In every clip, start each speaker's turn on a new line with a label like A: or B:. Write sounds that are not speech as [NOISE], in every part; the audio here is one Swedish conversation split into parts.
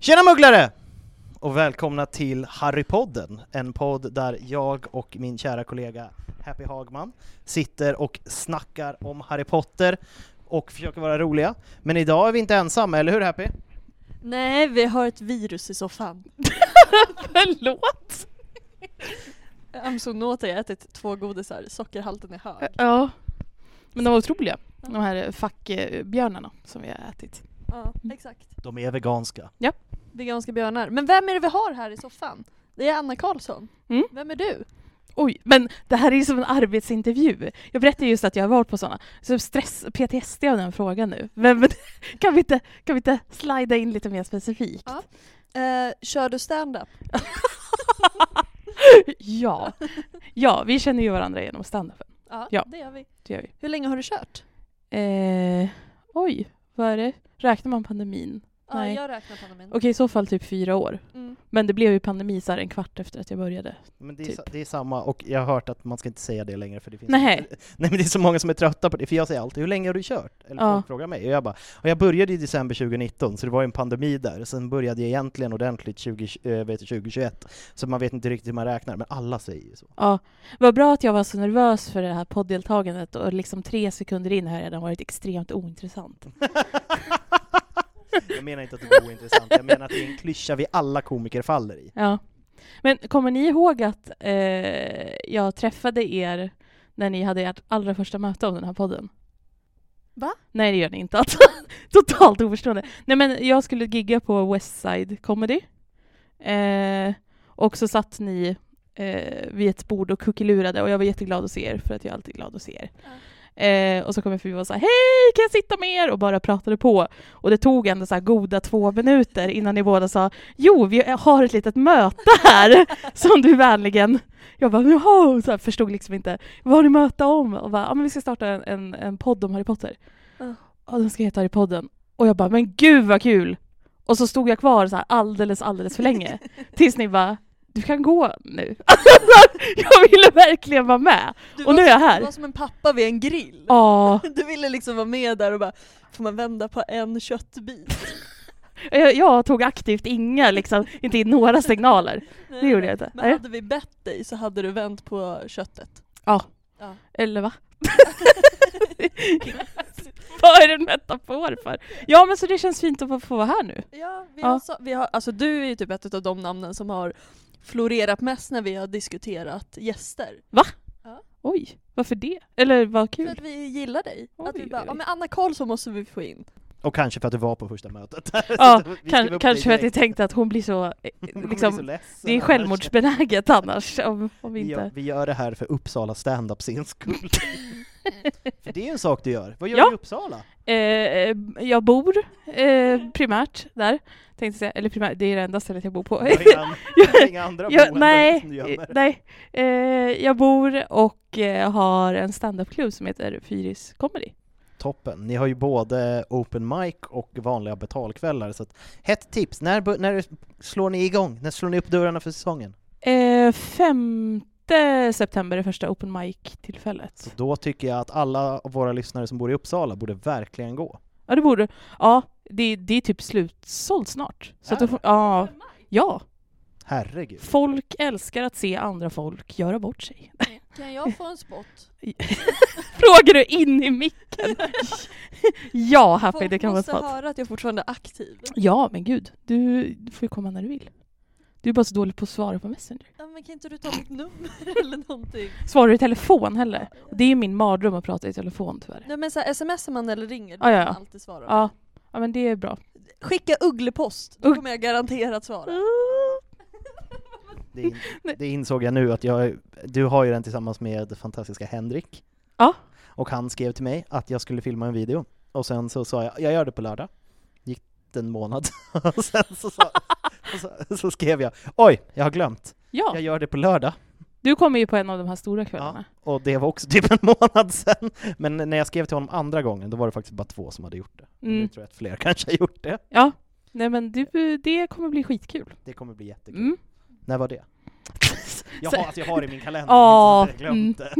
A: Tjena mugglare! Och välkomna till Harrypodden, en podd där jag och min kära kollega Happy Hagman sitter och snackar om Harry Potter och försöker vara roliga. Men idag är vi inte ensamma, eller hur Happy?
B: Nej, vi har ett virus i soffan.
C: Förlåt!
B: I'm so naughty, jag har ätit två godisar, sockerhalten är hög.
C: Ja. Men de var otroliga, de här fackbjörnarna som vi har ätit.
B: Ja, exakt.
A: De är veganska.
B: Veganska björnar. Men vem är det vi har här i soffan? Det är Anna Karlsson.
C: Mm.
B: Vem är du?
C: Oj, men det här är ju som en arbetsintervju. Jag berättade just att jag har varit på sådana. Så stress, PTSD av den frågan nu. Men, [LAUGHS] men kan, vi inte, kan vi inte slida in lite mer specifikt? [LAUGHS]
B: Ja. Eh, kör du stand-up?
C: ja. ja, vi känner ju varandra genom standupen.
B: Ja,
C: Ja.
B: det gör vi.
C: Det gör vi.
B: Hur länge har du kört?
C: Eh, oj, vad är det? Räknar man pandemin?
B: Ja,
C: Nej.
B: jag räknar pandemin.
C: Okej, i så fall typ fyra år.
B: Mm.
C: Men det blev ju pandemi så här en kvart efter att jag började.
A: Men det, är,
C: Typ.
A: sa- det är samma, och jag har hört att man ska inte säga det längre för det finns
C: Nej.
A: [LAUGHS] Nej men det är så många som är trötta på det, för jag säger alltid ”Hur länge har du kört?” Eller
C: Ja.
A: folk frågar mig, och jag bara och ”Jag började i december 2019, så det var ju en pandemi där, sen började jag egentligen ordentligt 20, eh, vet du, 2021, så man vet inte riktigt hur man räknar, men alla säger ju så. [LAUGHS]
C: Ja, vad bra att jag var så nervös för det här podddeltagandet och liksom tre sekunder in har jag redan varit extremt ointressant.
A: Jag menar inte att det är ointressant, jag menar att det är en klyscha vi alla komiker faller i.
C: Ja. Men kommer ni ihåg att eh, jag träffade er när ni hade ert allra första möte om den här podden?
B: Va?
C: Nej, det gör ni inte. Alltså. [LAUGHS] Totalt oförstående. Nej, men jag skulle gigga på Westside Comedy. Eh, och så satt ni eh, vid ett bord och kuckelurade och jag var jätteglad att se er för att jag är alltid glad att se er. Eh, och så kom jag förbi och sa hej, kan jag sitta med er? Och bara pratade på. Och det tog ändå så här goda två minuter innan ni båda sa jo, vi har ett litet möte här [LAUGHS] som du vänligen... Jag bara jaha, så här, förstod liksom inte. Vad har ni möte om? Och bara, ja men vi ska starta en, en, en podd om Harry Potter.
B: Ja.
C: Ja, den ska heta Harrypodden. Och jag bara, men gud vad kul! Och så stod jag kvar så här alldeles, alldeles för länge. Tills ni bara, du kan gå nu. [LAUGHS] jag ville verkligen vara med.
B: Du
C: Och nu
B: var
C: är jag
B: som-
C: här.
B: Du var som en pappa vid en grill. [LAUGHS]
C: Ja,
B: Du ville liksom vara med där och bara, får man vända på en köttbit?
C: jag, jag tog aktivt inga, liksom, inte in några signaler. Det gjorde jag inte.
B: Men hade vi bett dig så hade du vänt på köttet.
C: Ja.
B: Ja.
C: Eller va? [LAUGHS]
B: [LAUGHS]
C: Vad är det en metafor för? Ja men så det känns fint att få- få vara här nu.
B: Ja, vi
C: Ja.
B: Har, sa- vi har, alltså du är ju typ ett av de namnen som har florerat mest när vi har diskuterat gäster.
C: Oj, varför det? Eller vad
B: För
C: kul.
B: att vi gillar dig.
C: Oj,
B: att vi bara,
C: oj, oj.
B: ja men Anna Karlsson måste vi få in.
A: Och kanske för att du var på första mötet. [LAUGHS]
C: Ja,
A: Så Alltså, vi skrev
C: kan,
A: upp
C: kanske för
A: dig
C: att jag
A: direkt.
C: tänkte att hon blir så, eh,
A: [LAUGHS] Man blir så
C: liksom,
A: ledsen
C: det är
A: annars. [LAUGHS]
C: självmordsbenäget annars om, om vi
A: Vi gör,
C: inte...
A: vi gör det här för Uppsala stand-up scens
C: [LAUGHS]
A: skull. för det är ju en sak du gör. Vad gör
C: Ja.
A: du i
C: [LAUGHS]
A: Uppsala?
C: Eh, jag bor eh, primärt där, tänkte säga, eller primärt, det är det enda stället jag bor på.
A: Du har
C: [LAUGHS]
A: inga, an- du har inga andra
C: Ja,
A: boenden
C: nej,
A: som du gömmer.
C: nej. Eh, jag bor och eh, har en standupklubb som heter Fyris Comedy.
A: Toppen. Ni har ju både open mic och vanliga betalkvällar. Så att, hett tips. När, bör- när slår ni igång? När slår ni upp dörrarna för säsongen?
C: Eh, 15 september är första open mic-tillfället.
A: Så då tycker jag att alla av våra lyssnare som bor i Uppsala borde verkligen gå.
C: Ja, det borde Ja, det, det är typ slutsåld snart. Så att
A: Är
C: då får, ja, ja,
A: Herregud.
C: folk älskar att se andra folk göra bort sig. [LAUGHS]
B: Kan jag få en spot?
C: Frågar du in i micken? [LAUGHS] ja, Happy,
B: Folk
C: det kan vara
B: måste
C: spott.
B: höra att jag fortfarande är aktiv.
C: Ja, men gud. Du du får ju komma när du vill. Du är bara så dålig på att svara på Messenger.
B: Ja, men kan inte du ta mitt [LAUGHS] nummer eller någonting?
C: Svarar du i telefon heller? Och Det är ju min mardröm att prata i telefon tyvärr.
B: Nej men så här, smsar man eller ringer, då
C: Ja,
B: kan
C: ja,
B: man
C: ja.
B: alltid svara.
C: Ja, ja men det är bra.
B: Skicka ugglepost, då
C: Ugg-
B: kommer jag garanterat svara.
A: Det,
C: [LAUGHS]
A: in, det insåg jag nu att jag, du har ju den tillsammans med fantastiska Henrik.
C: Ja.
A: Och han skrev till mig att jag skulle filma en video. Och sen så sa jag, jag gör det på lördag. Gick det en månad. [LAUGHS] och sen så, sa, och så, så skrev jag, oj, jag har glömt.
C: Ja,
A: Jag gör det på lördag.
C: du kommer ju på en av de här stora kvällarna.
A: Och det var också typ en [LAUGHS] månad sen. Men när jag skrev till honom andra gången, då var det faktiskt bara två som hade gjort det. Nu
C: Mm.
A: tror jag att fler [LAUGHS] kanske har gjort det.
C: Ja, nej men du, det kommer bli skitkul.
A: Det kommer bli jättekul.
C: Mm.
A: När
C: [LAUGHS]
A: var det? Jag
C: Så-
A: har, alltså jag har i min kalender, liksom.
C: Ja, mm.
A: jag glömt det. [LAUGHS]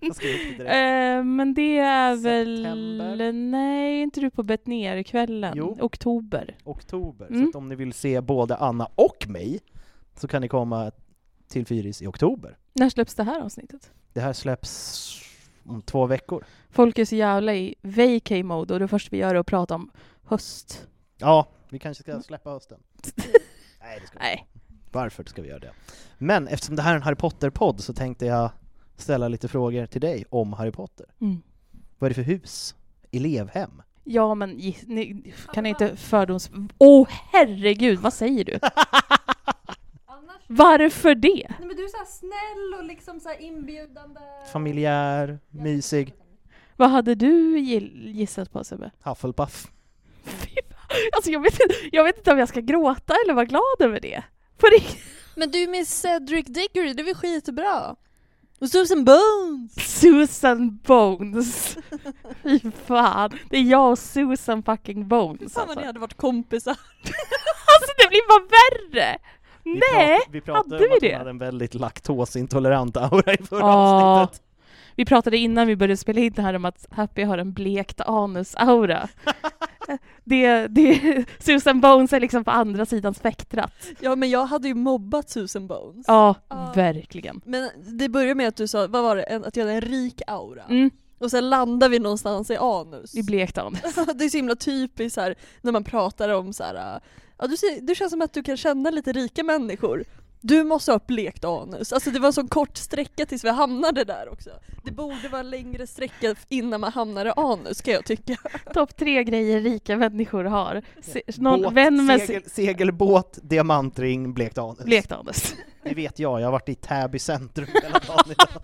A: Jag skrev upp det direkt.
C: Eh, men det är
A: September.
C: väl... Nej, inte du på Betnér-kvällen?
A: Jo.
C: Oktober.
A: Oktober.
C: Mm.
A: Så att om ni vill se både Anna och mig så kan ni komma till Fyris i oktober.
C: När släpps det här avsnittet?
A: Det här släpps om två veckor.
C: Folk är så jävla i vacay-mode och det första vi gör är att prata om höst.
A: Ja, vi kanske
C: Mm.
A: ska släppa hösten. Nej, det ska vi
C: Nej.
A: Varför ska vi göra det? Men eftersom det här är en Harry Potter-podd så tänkte jag ställa lite frågor till dig om Harry Potter.
C: Mm.
A: Vad är det för hus? Elevhem?
C: Ja, men giss- ni, kan ni inte fördoms... Åh herregud, vad säger [LAUGHS] du? Varför det?
B: Nej men du är så snäll och liksom så inbjudande.
A: Familjär, mysig,
C: Vad hade du gill- gissat på Sebbe?
A: Hufflepuff.
C: Fy fan. Alltså jag vet, inte, jag vet inte om jag ska gråta eller vara glad över det. På riktigt.
B: Men du är med Cedric Diggory, det är väl skitbra? Och Susan Bones!
C: Susan Bones.
B: [LAUGHS]
C: Fy fan. Det är jag och Susan fucking Bones
B: Fan vad
C: alltså.
B: ni hade varit kompisar.
C: Alltså det blir bara värre!
A: Vi
C: Nej!
A: pratar- vi pratade
C: hade
A: om att
C: vi
A: hon
C: det?
A: hade en väldigt laktosintolerant aura i förra
C: Ja.
A: avsnittet.
C: Vi pratade innan vi började spela in det här om att Happy har en
B: [LAUGHS]
C: blekt anus-aura. det, det, Susan Bones är liksom på andra sidan spektrat.
B: [LAUGHS] Ja men jag hade ju mobbat Susan Bones.
C: Ja,
B: Ja.
C: verkligen.
B: Men det började med att du sa, vad var det, en, att jag hade en rik aura.
C: Mm,
B: Och sen landar vi någonstans i anus.
C: I blekt anus.
B: [LAUGHS] det är så himla typiskt så här, när man pratar om så här, äh, ja, du, ser, du känns som att du kan känna lite rika människor. Du måste ha ett blekt anus. Alltså det var en sån kort sträcka tills vi hamnade där också. Det borde vara en längre sträcka innan man hamnar i anus kan jag tycka.
C: Topp tre grejer rika människor har. Se,
A: Båt,
C: någon vän med
A: segel,
C: segel...
A: segelbåt, diamantring, blekt anus.
C: blekt anus.
A: Det vet jag, jag har varit i Täby centrum hela dagen idag.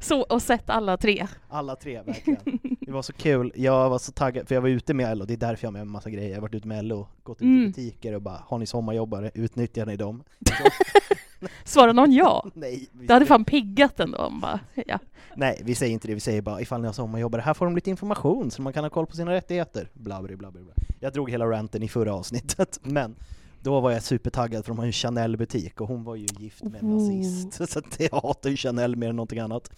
C: Så, och sett alla tre.
A: Alla tre verkligen. Det var så kul, jag var så taggad, för jag var ute med LO, det är därför jag har med mig en massa grejer. Jag har varit ute med LO, gått ut i
C: Mm.
A: butiker och bara ”Har ni sommarjobbare? Utnyttjar ni dem?”
C: Svarar någon ja?
A: Nej, vi,
C: Det hade fan piggat ändå om bara, ja.
A: nej, vi säger inte det, vi säger bara ”Ifall ni har sommarjobbare, här får de lite information så man kan ha koll på sina rättigheter”. Blabberi, blabberi, bla. Jag drog hela ranten i förra avsnittet, [LAUGHS] men då var jag supertaggad för de har ju en Chanel-butik och hon var ju gift med en
C: Oh.
A: nazist. [LAUGHS] Så att jag hatar ju Chanel mer än någonting annat.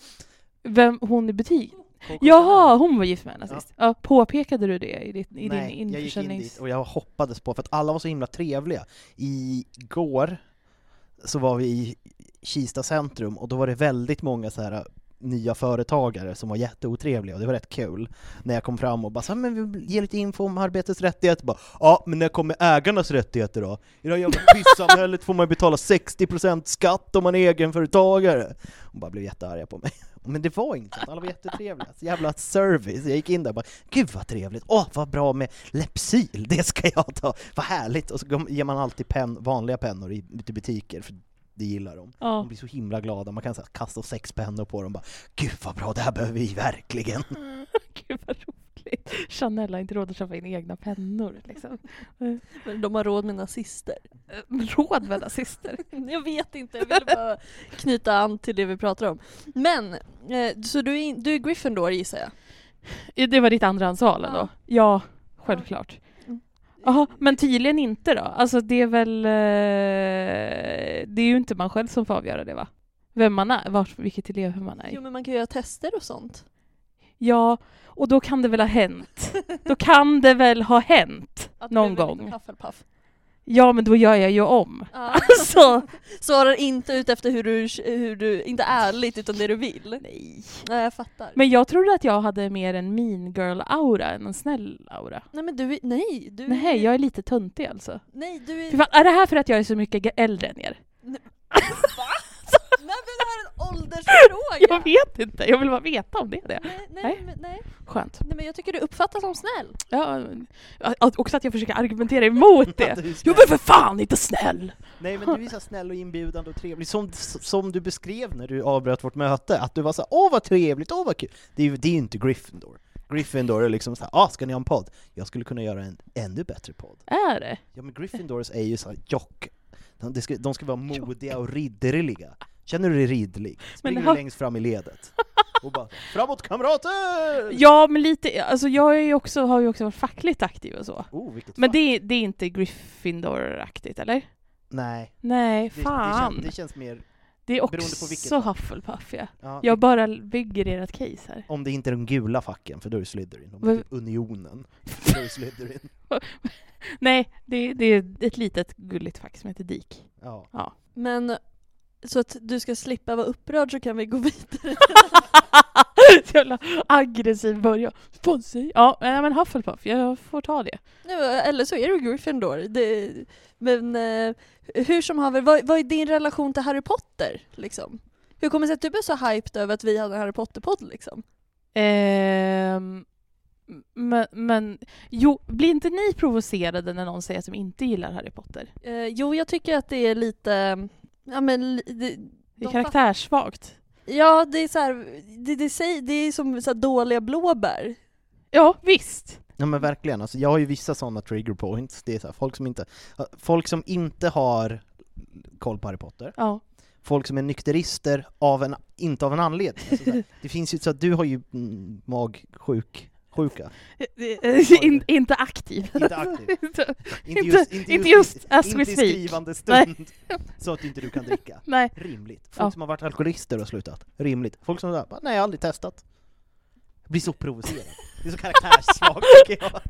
C: Vem, hon i butik?
A: Coco
C: Jaha, hon var gift med en nazist. Ja. påpekade du det i, ditt, i din
A: Nej, jag gick in
C: införsäljnings...
A: dit och jag hoppades på, för att alla var så himla trevliga. Igår så var vi i Kista centrum och då var det väldigt många så här äh, nya företagare som var jätteotrevliga och det var rätt kul när jag kom fram och bara så här, men vi vill ge lite info om arbetets rättigheter bara ja men när kommer ägarnas rättigheter då? I det här jävla pissamhället får man ju betala 60% skatt om man är egenföretagare! Hon bara blev jättearga på mig. [LAUGHS] Men det var inte sånt, alla var jättetrevliga. Så jävla service. Jag gick in där och bara Gud vad trevligt! Åh vad bra med Lepsyl, det ska jag ta! Vad härligt! Och så går- ger man alltid pen, vanliga pennor i, ute i butiker, för det gillar de.
C: Ja.
A: De blir så himla glada, man kan så här, kasta sex pennor på dem bara Gud vad bra, det här behöver vi verkligen!
C: [LAUGHS] Gud vad roligt. Chanel har inte råd att köpa in egna pennor [LAUGHS] liksom.
B: Men de har råd med nazister.
C: Råd med nazister.
B: [LAUGHS] Jag vet inte, jag ville bara knyta an till det vi pratar om. Men, eh, så du är, in- du är Gryffindor gissar jag?
C: Det var ditt andrahandsval ändå? Ja, självklart.
B: Mm.
C: Jaha, men tydligen inte då? Alltså det är väl... eh, Det är ju inte man själv som får avgöra det va? vem man är, vart, vilket elevhem man är i.
B: Jo men man kan ju göra tester och [LAUGHS] sånt.
C: Ja, och då kan det väl ha hänt. Då kan det väl ha hänt.
B: Att
C: Någon
B: det blev
C: gång.
B: lite Paffelpaff.
C: Ja, men då gör jag ju om.
B: [LAUGHS] Ja.
C: Alltså,
B: Svarar inte ut efter hur du, hur du, inte ärligt utan det du vill. Nej. Nej jag fattar.
C: men jag trodde att jag hade mer en mean girl-aura än en snäll aura.
B: nej men du är, nej du är,
C: Nej, jag är lite töntig alltså.
B: nej du är,
C: Fy fan, är det här för att jag är så mycket ge- äldre än er?
A: [LAUGHS]
B: nej men det här är en åldersfråga.
C: Jag vet inte, jag vill bara veta om det är det.
B: Nej, nej,
C: Nej.
B: men- nej.
C: Skönt.
B: nej men jag tycker du uppfattas som snäll.
C: Ja, att- också att jag försöker argumentera emot
A: Att
C: det.
A: [LAUGHS] du är
C: Jag
A: snäll.
C: är för fan inte snäll!
A: Nej men du är så snäll och inbjudande och trevlig, som, som du beskrev när du avbröt vårt möte, att du var så här, åh vad trevligt, åh vad kul! Det är ju det är ju inte Gryffindor. Gryffindor är liksom såhär, ah ska ni ha en podd? Jag skulle kunna göra en ännu bättre podd.
C: Är det?
A: Ja men Gryffindors är ju såhär jock, de, de, ska, de ska vara modiga och ridderliga. Känner du dig ridderlig? Springer
C: har-
A: du längst fram i ledet. Och bara, framåt kamrater!
C: Ja, men lite, alltså jag är ju också, har ju också varit fackligt aktiv och så.
A: Oh, vilket
C: Men
A: fack.
C: det, är- det är inte Gryffindor-aktigt, eller?
A: Nej,
C: Nej,
A: det, det,
C: fan.
A: känns, det känns mer,
C: det är
A: beroende på vilket
C: också
A: fack.
C: Hufflepuff, ja.
A: ja,
C: Jag bara bygger ert case här.
A: om det inte är de gula facken, för då är det Slytherin. Om det
C: Vad-
A: är typ Unionen, [LAUGHS] då är det Slytherin.
C: Nej, det, det är ett litet gulligt fack som heter DIK.
A: Ja.
B: Men så att du ska slippa vara upprörd så kan vi gå vidare.
C: [LAUGHS] Så Jävla aggressiv början. Sponsor. Ja, nej, men Hufflepuff, jag får ta det.
B: Nej, men- Eller så är du Gryffindor. Det, men eh, hur som haver, vad, vad är din relation till Harry Potter? Liksom? Hur kommer det sig att du blev så hyped över att vi hade en Harry Potter-podd? Liksom?
C: Ehm, men, men, jo, blir inte ni provocerade när någon säger att de inte gillar Harry Potter?
B: Eh, jo, jag tycker att det är lite... Ja, men, li- det,
C: Det är
B: De
C: karaktärssvagt.
B: ja, det är så här, det, det, säger- det är som så här dåliga blåbär.
C: Ja, visst.
A: ja men verkligen, alltså, jag har ju vissa sådana trigger points, det är så här, folk, som inte, folk som inte har koll på Harry Potter,
C: Ja.
A: folk som är nykterister av en, inte av en anledning. Alltså, så
C: [LAUGHS]
A: här, det finns ju, så att du har ju mm, magsjuk sjuka.
C: [LAUGHS] In, inte aktiv. [LAUGHS]
A: Inte aktiv.
C: Inte- inte just as
A: inte
C: we
A: i
C: speak.
A: skrivande stund. Så att inte du kan dricka.
C: Nej.
A: Rimligt. Folk
C: Ja.
A: som har varit alkoholister och slutat. Rimligt. Folk som bara, nej jag har aldrig testat. Jag blir så provocerad. Det är så
C: [LAUGHS]
A: karaktärssvagt tycker jag.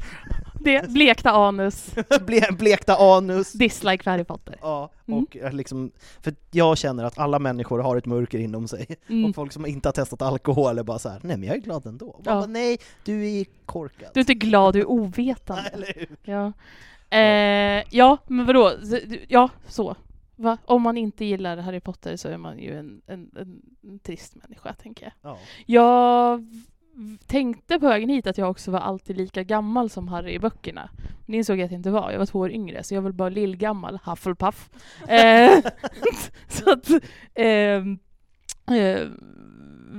C: Det blekta anus,
A: Ble, blekta anus.
C: dislike för Harry Potter.
A: Ja,
C: Mm.
A: och jag liksom, för jag känner att alla människor har ett mörker inom sig. [LAUGHS]
C: Mm.
A: Och folk som inte har testat alkohol är bara så här, nej men jag är glad ändå. Och Man
C: Ja.
A: bara, nej, du är korkad.
C: Du är inte glad, du är ovetande.
A: [LAUGHS] Eller hur?
C: Ja, eh, ja men vadå? Så- du- Ja, så. Va? Om man inte gillar Harry Potter så är man ju en, en, en, en trist människa, tänker jag. [LAUGHS]
A: Ja.
C: Jag v- tänkte på vägen hit att jag också var alltid lika gammal som Harry i böckerna. Men det insåg jag att jag inte var. Jag var två år yngre, så jag var bara lillgammal, Hufflepuff. Eh, [LAUGHS] så att... ehm, eh,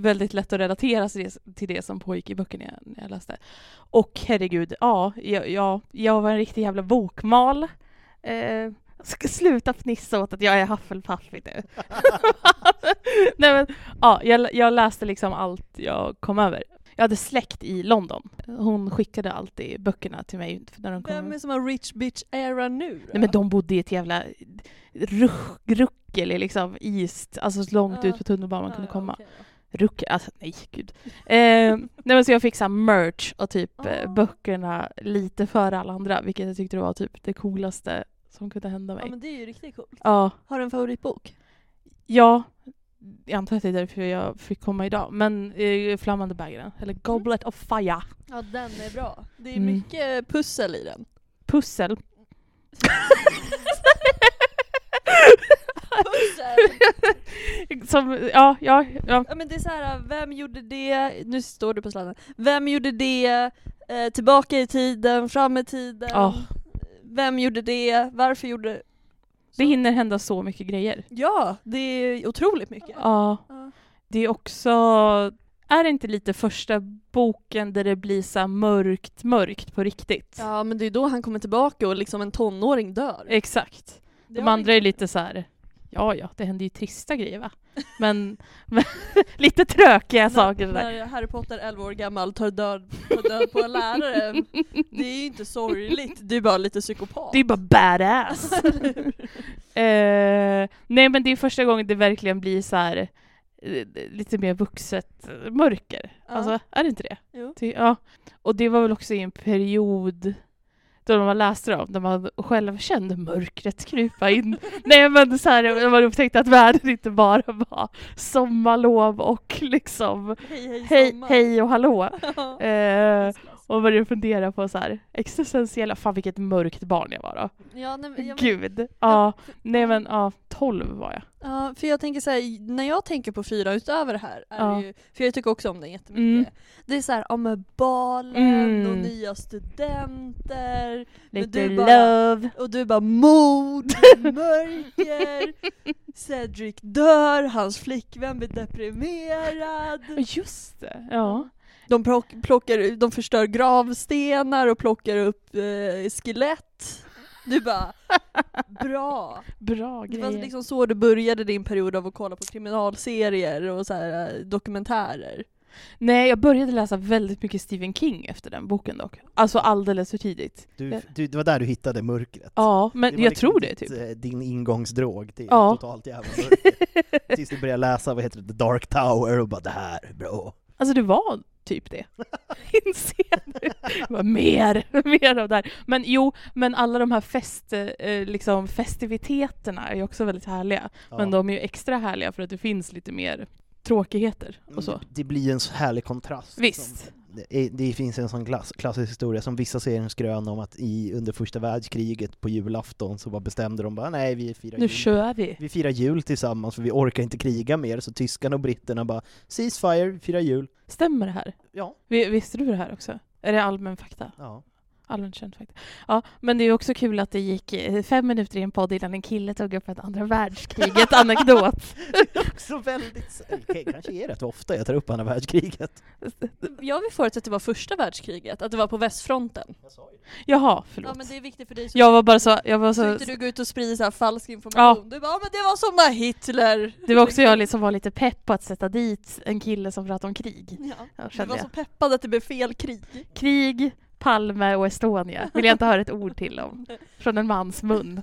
C: väldigt lätt att relatera till det, till det som pågick i böckerna jag, när jag läste. Och herregud, ja, jag, jag, jag var en riktig jävla bokmal. Eh, ska sluta fnissa åt att jag är Hufflepuff nu. [LAUGHS] Nej men, ja, jag, jag läste liksom allt jag kom över. Jag hade släkt i London. Hon skickade alltid böckerna till mig när de kom.
B: Vem är som har rich bitch era nu då?
C: Nej men de bodde i ett jävla ruck, ruckel i liksom East, alltså så långt
B: Ja.
C: ut på tunnelbanan man kunde
B: Ja,
C: komma.
B: Ah, okej då.
C: Ruck, alltså nej gud. Eh, nej men så jag fick så här merch och typ eh,
B: Ah.
C: böckerna lite före alla andra, vilket jag tyckte det var typ det coolaste som kunde hända mig.
B: Ja
C: Ja,
B: men det är ju riktigt coolt.
C: ja,
B: Har du en favoritbok?
C: jag antar att det är därför jag fick komma idag, men eh, Flammande bägaren, eller Goblet of Fire.
B: Ja den är bra. Det är
C: Mm.
B: mycket pussel i den.
C: Pussel.
B: Pussel!
C: som, ja, ja, ja.
B: Ja men det är så här, vem gjorde det, nu står du på sladden, vem gjorde det, eh, tillbaka i tiden, fram i tiden,
C: Ja.
B: vem gjorde det, varför gjorde...
C: Det hinner hända så mycket grejer.
B: Ja, det är otroligt mycket.
C: Ja.
B: Ja.
C: Det är också, är det inte lite första boken där det blir så här mörkt, mörkt på riktigt?
B: Ja men det är då han kommer tillbaka och liksom en tonåring dör.
C: Exakt.
B: Det
C: Eh, De
B: har
C: andra är
B: vi-
C: lite så här. ja ja, det händer ju trista grejer va? Men, men [LAUGHS] lite trökiga saker sådär.
B: När Harry Potter 11 år gammal tar död, tar död på en lärare.
C: [LAUGHS]
B: Det är ju inte sorgligt, det är bara lite psykopat.
C: Det är ju
B: [LAUGHS]
C: bara badass! eh, nej men det är första gången det verkligen blir så här eh, lite mer vuxet eh, mörker.
B: Ja.
C: Alltså, är det inte det?
B: Jo.
C: Det- ja. Och det var väl också i en period då man läste dem, där man själv kände mörkret
B: [LAUGHS]
C: krypa in. nej men så här, när man upptäckte att världen inte bara var sommarlov och liksom
B: Hej hej,
C: hej,
B: sommar.
C: hej och hallå.
B: [LAUGHS] Ja.
C: Eh, och började fundera på så här existentiella, fan vilket mörkt barn jag var då.
B: Ja, nej, men- ja, men-
C: Gud.
B: Ja,
C: Ja, nej men ja, 12 var jag.
B: Ja, för jag tänker så här, när jag tänker på fyra utöver det här, är
C: Ja.
B: det ju, för jag tycker också om den jättemycket.
C: Mm.
B: Det är så här, ja men balen
C: Mm.
B: och nya studenter Men
C: Lite
B: du bara-
C: love.
B: och du bara mod,
C: [LAUGHS]
B: mörker, Cedric dör, hans flickvän blir deprimerad.
C: Ja, Just det, ja.
B: De, plock, plockar, de förstör gravstenar och plockar upp eh, skelett. Du
C: [LAUGHS]
B: bara, bra.
C: Bra
B: Det var
C: grejer.
B: liksom så du började din period av att kolla på kriminalserier och så här, eh, dokumentärer.
C: Nej, jag började läsa väldigt mycket Stephen King efter den boken dock. Alltså alldeles för tidigt.
A: Du, du, det var där du hittade mörkret.
C: Ja,
A: Det
C: men
A: var
C: jag
A: liksom
C: tror det
A: ditt,
C: typ. [LAUGHS]
A: eh, Din ingångsdrog till
C: Ja.
A: totalt jävla mörker. Tills du började läsa, vad heter det, The Dark Tower och bara det här är bra.
C: Alltså det var typ det. [LAUGHS] Inser jag nu. Det var mer, [LAUGHS] mer av det här. Men jo, men alla de här fest, eh, liksom festiviteterna är ju också väldigt härliga.
A: Ja.
C: Men de är ju extra härliga för att det finns lite mer tråkigheter och så.
A: Mm, Det blir en så härlig kontrast. Som,
C: Visst.
A: det, är- det finns en sån klass, klassisk historia som vissa ser en skrön om att i, under första världskriget på julafton så bara bestämde de bara nej vi firar
C: Nu
A: jul.
C: kör vi.
A: vi firar jul tillsammans för vi orkar inte kriga mer så tyskarna och britterna bara ceasefire, vi firar jul.
C: Stämmer det här?
A: Ja,
C: Vi- Visste du det här också? Är det allmän fakta?
A: ja.
C: Allmänt känt fakta. Ja, men det är ju också kul att det gick eh, fem minuter i en podd innan en kille tog upp ett
B: [LAUGHS]
C: andra
A: [LAUGHS]
C: världskriget anekdot.
A: Också väldigt, okay, kanske är rätt ofta jag tar upp andra världskriget.
B: Jag vill förutsätta att det var första världskriget, att det var på västfronten.
C: Jaha, förlåt.
B: Ja men det är viktigt för dig som
C: Jag var bara så... Jag var
B: så
C: så
B: inte du går ut och sprider så här falsk information. Du bara, ja, men det var som när Hitler...
C: det var också jag som var lite pepp på att sätta dit en kille som pratade om krig.
B: [LAUGHS] Ja.
C: Ja,
B: Du var
C: kände
B: så
C: jag.
B: peppad att det blev fel [LAUGHS] krig.
C: Krig, Palme och Estonia vill jag inte höra ett ord till om. Från en mans mun.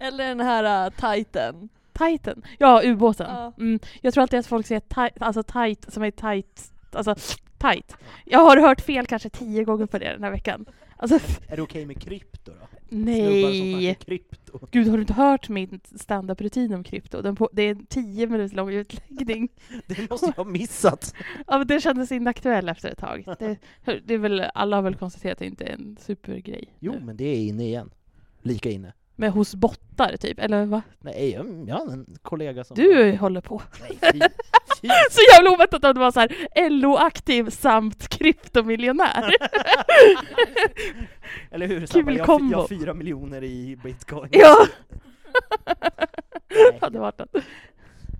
B: Eller den här uh, titan.
C: Titan. Ja, ubåten.
B: Ja.
C: Mm. Jag tror alltid att folk säger tight, alltså tight som är tight, alltså tight. Jag har hört fel kanske tio gånger på det den här veckan. Alltså, f-
A: Är det okej med krypto då? Snubbar som
C: nej.
A: snackar krypto.
C: Gud, har du inte hört min standup-rutin om krypto? Den på, det är en tio minuter lång utläggning.
A: [LAUGHS] Det måste jag ha missat.
C: Ja, men den kändes inaktuell efter ett tag. Det, det är väl, alla har väl konstaterat att det inte är en supergrej.
A: Jo,
C: nu.
A: men det är inne igen. Lika inne.
C: Men hos bottar typ, eller va?
A: Nej, jag, jag har en kollega som...
C: Du håller på. [LAUGHS]
A: Nej, fy, fy. [LAUGHS]
C: Så jävla oväntat att du var så här LO-aktiv samt kryptomiljonär.
A: Eller hur?
C: Kul
A: Samma, jag, har fy-
C: kombo.
A: jag har fyra miljoner i bitcoin.
C: [LAUGHS] Ja!
A: Nej.
C: hade varit något.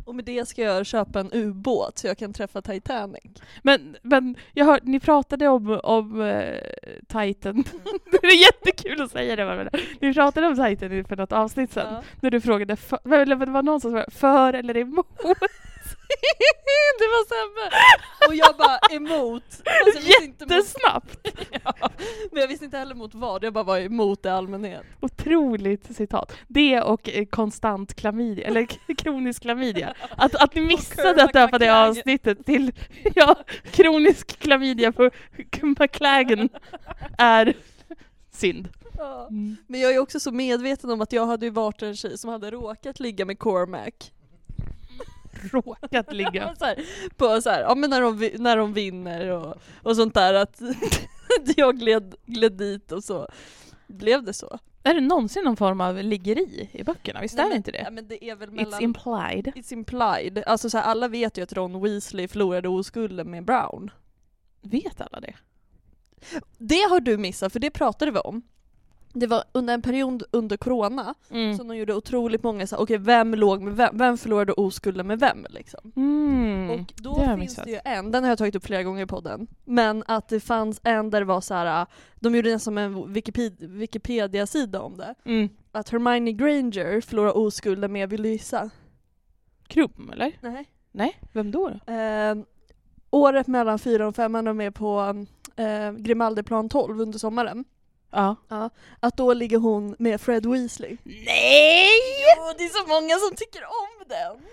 B: Och med det ska jag köpa en ubåt så jag kan träffa Titanic.
C: Men, men jag hör, ni pratade om, om eh, Titan. [LAUGHS] det är jättekul att säga det. men- Ni pratade om Titan för något avsnitt sen.
B: Ja.
C: När du frågade, för, eller det var någon som svarade för eller emot.
B: [LAUGHS] det var sämre! Och jag bara emot. Alltså, Fast jag visste inte
C: Det är
B: mot,
C: snabbt.
B: [LAUGHS] men jag visste inte heller mot vad, jag bara var emot i allmänhet.
C: Otroligt citat. Det och eh, konstant klamydia, eller k- [LAUGHS] kronisk klamydia. Att, att ni missade att döpa det
B: Kermit
C: avsnittet till [LAUGHS] ja, kronisk klamydia på McLagan är synd.
B: Ja.
C: Mm.
B: Men jag är också så medveten om att jag hade ju varit en tjej som hade råkat ligga med Cormac.
C: Råkat ligga.
B: så här, på så här, ja men när de, vi- när de vinner och, och sånt där att [LAUGHS] jag gled, gled dit och så blev det så.
C: [LAUGHS] Är det någonsin någon form av liggeri i böckerna? Visst är det inte
B: Ja,
C: det?
B: men det är väl mellan...
C: It's implied.
B: It's implied. Alltså så här, alla vet ju att Ron Weasley förlorade oskulden med Brown.
C: Vet alla det?
B: Det har du missat för det pratade vi om. Det var under en period under corona
C: Mm.
B: som de gjorde otroligt många så här, okej vem låg med vem, vem förlorade oskulden med vem liksom.
C: Mm.
B: Och då
C: det har jag
B: finns
C: missat.
B: det ju en, den har jag tagit upp flera gånger i podden, men att det fanns en där det var så här. äh, de gjorde nästan som en Wikipedia- Wikipedia-sida om det,
C: Mm.
B: att Hermione Granger förlorar oskulden med Vilysa.
C: Krum eller?
B: Nej.
C: Nej, vem då? då?
B: Ehm, året mellan fyran och femman, de är på eh, Grimaldiplan 12 under sommaren.
C: Ja.
B: Att då ligger hon med Fred Weasley.
C: Nej!
B: Jo, det är så många som tycker om den!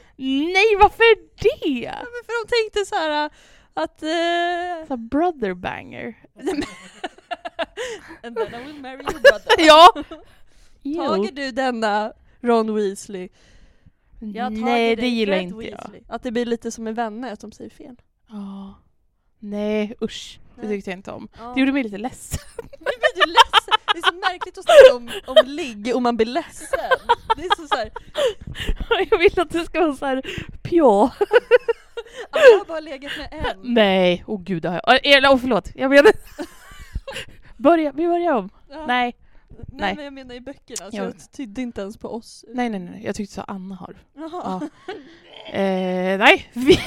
C: Nej, varför det?
B: Men för de tänkte så här äh, att... eh,
C: Så här brother banger.
B: [LAUGHS] And then I will marry your [LAUGHS] brother.
C: Ja!
B: Tager du denna Ron Weasley? Jag har tagit
C: Nej, det
B: dig,
C: gillar
B: Fred
C: inte jag.
B: Weasley. Att det blir lite som en vänner, att de säger fel.
C: Ja. Nej, usch. Det
B: Nej.
C: tyckte jag inte om.
B: Ja.
C: Det gjorde mig
B: [LAUGHS]
C: lite ledsen.
B: Nu blir du ledsen! Det är så märkligt att snacka om, om ligg och man blir
C: [LAUGHS]
B: ledsen. Det är så såhär,
C: jag vill att det ska vara så här
B: [LAUGHS]
C: pjå.
B: jag har bara legat med en.
C: Nej, åh oh, gud det har jag... Eller åh förlåt, jag menar... [LAUGHS] Börja, vi börjar om.
B: Ja.
C: Nej.
B: nej.
C: nej.
B: men jag menar i böckerna, så
C: Ja.
B: jag tydde inte ens på oss.
C: nej, nej, nej, jag tyckte så Anna har.
B: Jaha.
C: Ja.
B: [LAUGHS]
C: Eh, nej, [LAUGHS] vi,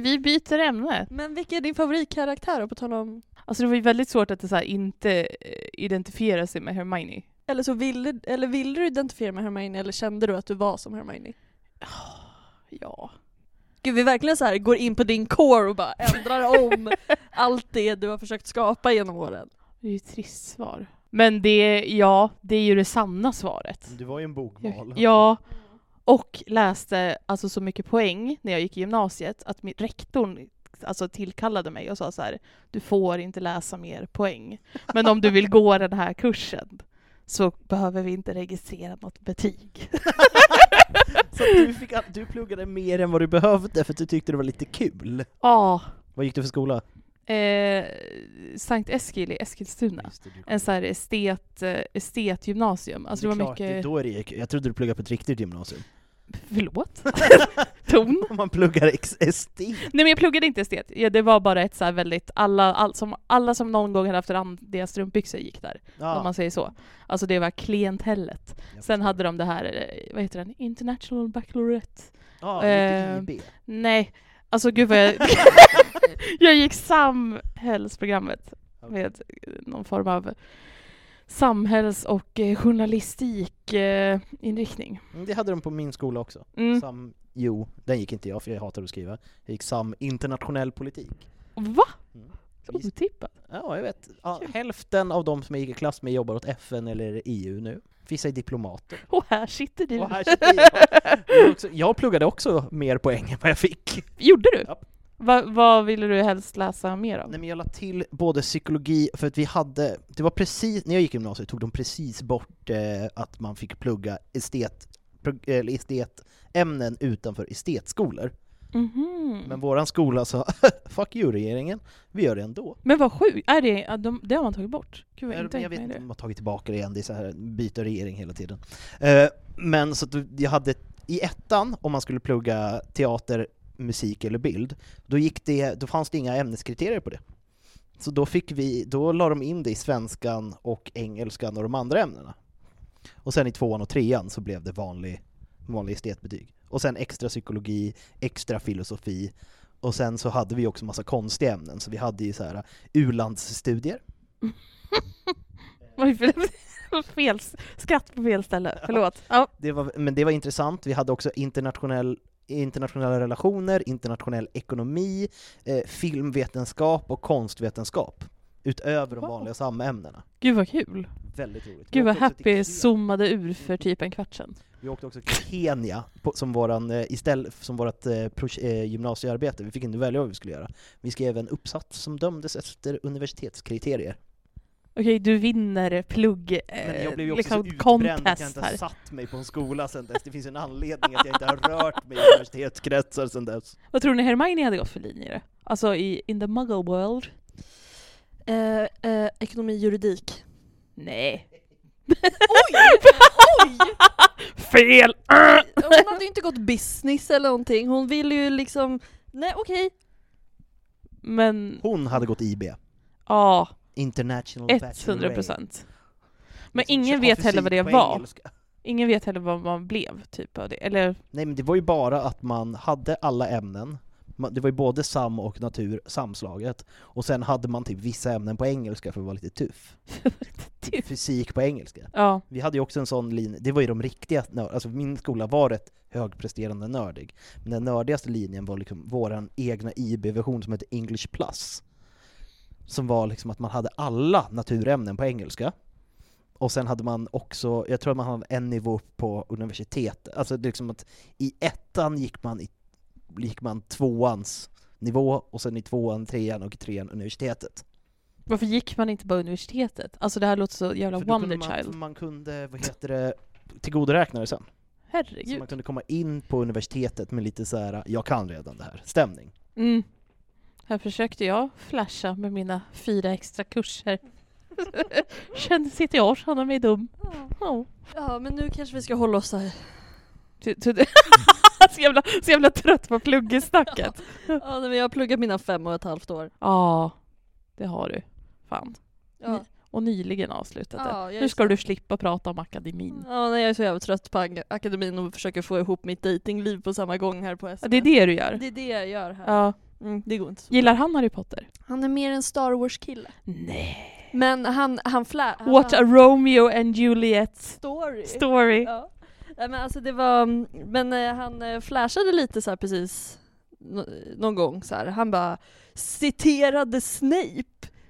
C: vi byter ämne.
B: Men vilken är din favoritkaraktär då, på tal om...
C: Alltså det var ju väldigt svårt att det så här inte eh, identifiera sig med Hermione.
B: Eller så ville, eller ville du identifiera med Hermione eller kände du att du var som Hermione?
C: Ja.
B: Gud vi verkligen så här går in på din core och bara ändrar [LAUGHS] om allt det du har försökt skapa genom åren.
C: Det är ju ett trist svar. Men det, ja, det är ju det sanna svaret.
A: Du var ju en bokmal.
C: Ja. Och läste alltså så mycket poäng när jag gick i gymnasiet att min rektorn alltså, tillkallade mig och sa så här, du får inte läsa mer poäng. Men om du vill gå den här kursen så behöver vi inte registrera något betyg.
A: [LAUGHS] Så att du, fick, all- du pluggade mer än vad du behövde för att du tyckte det var lite kul.
C: Ja.
A: Vad gick du för skola?
C: Eh, Sankt Eskil i Eskilstuna.
A: Just det, du-
C: En så här estet, eh, estetgymnasium. Alltså
A: Det
C: det,
A: är
C: var
A: klart, det är
C: mycket...
A: då är det gick. Jag trodde du pluggade på ett riktigt gymnasium. [LAUGHS]
C: [LAUGHS] Förlåt? Ton?
A: Om [LAUGHS] man pluggar ex- ST.
C: Nej men jag pluggade inte estet. Ja, det var bara ett så här väldigt, alla, all, som, alla som någon gång hade haft randiga strumpbyxor gick där. Om man säger så. Alltså det var klientellet.
A: jag
C: Sen
A: förstår.
C: hade de det här, eh, vad heter den? International Baccalaureate.
A: Ja,
C: eh,
A: lite IB.
C: Nej, alltså gud vad jag...
A: [LAUGHS]
C: [LAUGHS] jag gick samhällsprogrammet med eh, någon form av samhälls och eh, journalistik eh, inriktning.
A: Mm, Det hade de på min skola också.
C: Mm.
A: Sam, jo, den gick inte jag för jag hatar att skriva. Jag gick sam internationell politik.
C: Va?
A: Mm.
C: Otippat.
A: Ja, jag vet. Ja, hälften av de som jag gick i klass med jobbar åt FN eller EU nu. Vissa är diplomater.
C: Och här sitter du.
A: Och här sitter jag. [LAUGHS] Jag är också- Jag pluggade också mer poäng än vad jag fick.
C: Gjorde du?
A: Japp.
C: Va, vad ville du helst läsa mer av?
A: Nej men jag la till både psykologi, för att vi hade, det var precis, när jag gick i gymnasiet tog de precis bort eh, att man fick plugga estet, prog- eller estetämnen utanför estetskolor.
C: Mhm.
A: Men våran skola sa [LAUGHS] ”fuck you regeringen, vi gör det ändå”.
C: Men vad sjukt, är det, ja, de, det har man tagit bort? Gud, jag,
A: Jag,
C: inte
A: jag
C: tänkt
A: vet
C: mig
A: inte om
C: det.
A: de har tagit tillbaka det igen, det är så här, byter regering hela tiden. Eh, men så att du- jag hade, i ettan, om man skulle plugga teater, musik eller bild, då, gick det, då fanns det inga ämneskriterier på det. Så då, fick vi, då la de in det i svenskan och engelskan och de andra ämnena. Och sen i tvåan och trean så blev det vanlig, vanlig estetbetyg. Och sen extra psykologi, extra filosofi, och sen så hade vi också massa konstiga ämnen, så vi hade ju så här u-landsstudier,
C: Oj, förlåt. [LAUGHS] fel, skratt på fel ställe, förlåt. Ja.
A: Det var, men det var intressant. Vi hade också internationell, internationella relationer, internationell ekonomi, eh, filmvetenskap och konstvetenskap. Utöver de
C: Wow.
A: vanliga samämnena.
C: Gud vad kul.
A: Väldigt roligt.
C: Gud
A: Vi
C: vad
A: åkte också till Mm. Kenya.
C: Happy zoomade ur för typ en kvart sedan.
A: Vi åkte också till Kenya på, som, våran, eh, istället, som vårat eh, proj- eh, gymnasiearbete. Vi fick inte välja vad vi skulle göra. Vi skrev en uppsats som dömdes efter universitetskriterier.
C: Okej, du vinner plugg, eh,
A: Men jag blev ju också
C: liksom
A: så utbränd att jag
C: contest
A: inte
C: här.
A: har satt mig på en skola sen dess. Det finns en anledning att jag inte har rört mig i universitetskretsar sen dess.
C: Vad tror ni Hermione hade gått för linje då? Alltså i In the Muggle World?
B: Eh, eh, ekonomi, juridik.
C: Nej.
B: [LAUGHS] Oj! Oj!
C: Fel! Ah!
B: Hon hade ju inte gått business eller någonting, hon ville ju liksom Nej okej,
C: Men
A: Hon hade gått IB.
C: ja,
A: International
C: 100
A: Bachelorette.
C: procent. Men
A: Liksom,
C: ingen
A: köpa
C: vet heller vad det
A: fysik på
C: var.
A: engelska.
C: Ingen vet heller vad man blev typ av det. Eller
A: Nej men det var ju bara att man hade alla ämnen, man- det var ju både sam och natur samslaget. Och sen hade man typ vissa ämnen på engelska för att vara lite tuff. Fysik på engelska.
C: typ. Ja.
A: Vi hade ju också en sån linje, det var ju de riktiga nörd, alltså min skola var rätt högpresterande nördig. Men den nördigaste linjen var liksom våran egna IB-version som hette English plus. Som var liksom att man hade alla naturämnen på engelska. Och sen hade man också, jag tror att man hade en nivå upp på universitet. Alltså det är liksom att i ettan gick man, i, gick man tvåans nivå och sen i tvåan, trean och i trean universitetet.
C: Varför gick man inte bara universitetet? Alltså det här låter så jävla
A: För då kunde
C: Wonder
A: man,
C: Child.
A: man kunde, vad heter det, tillgodoräkna det sen. Så
C: Herregud.
A: man kunde komma in på universitetet med lite så här, jag kan redan det här, stämning.
C: Mm. Här försökte jag flasha med mina fyra extra kurser. [LAUGHS] Kände sitt jag kände mig dum. Ja.
B: Ja men nu kanske vi ska hålla oss här.
C: Så, så, [LAUGHS] så, jävla, så jävla trött på pluggesnacket.
B: Ja nej, men jag har pluggat mina fem och ett halvt år.
C: Ja, det har du. Fan.
B: Ja,
C: Och nyligen avslutat det.
B: ja jag,
C: Nu
B: är
C: ska
B: så, Mm.
C: du slippa prata om akademin.
B: ja, nej, jag är så jävla trött på ang- akademin och försöker få ihop mitt datingliv på samma gång här på
C: Ja,
B: SMS.
C: det är det du gör.
B: det är det jag gör här.
C: Ja.
B: Mm, det går inte så
C: Gillar han Harry Potter?
B: Han är mer en Star Wars-kille.
C: Nej.
B: Men han, han flä... han-
C: What a
B: han-
C: Romeo and Juliet
B: story!
C: story.
B: Ja. Nej, men alltså det var, men eh, han eh, flashade lite så här precis nå- någon gång så här. Han bara citerade Snape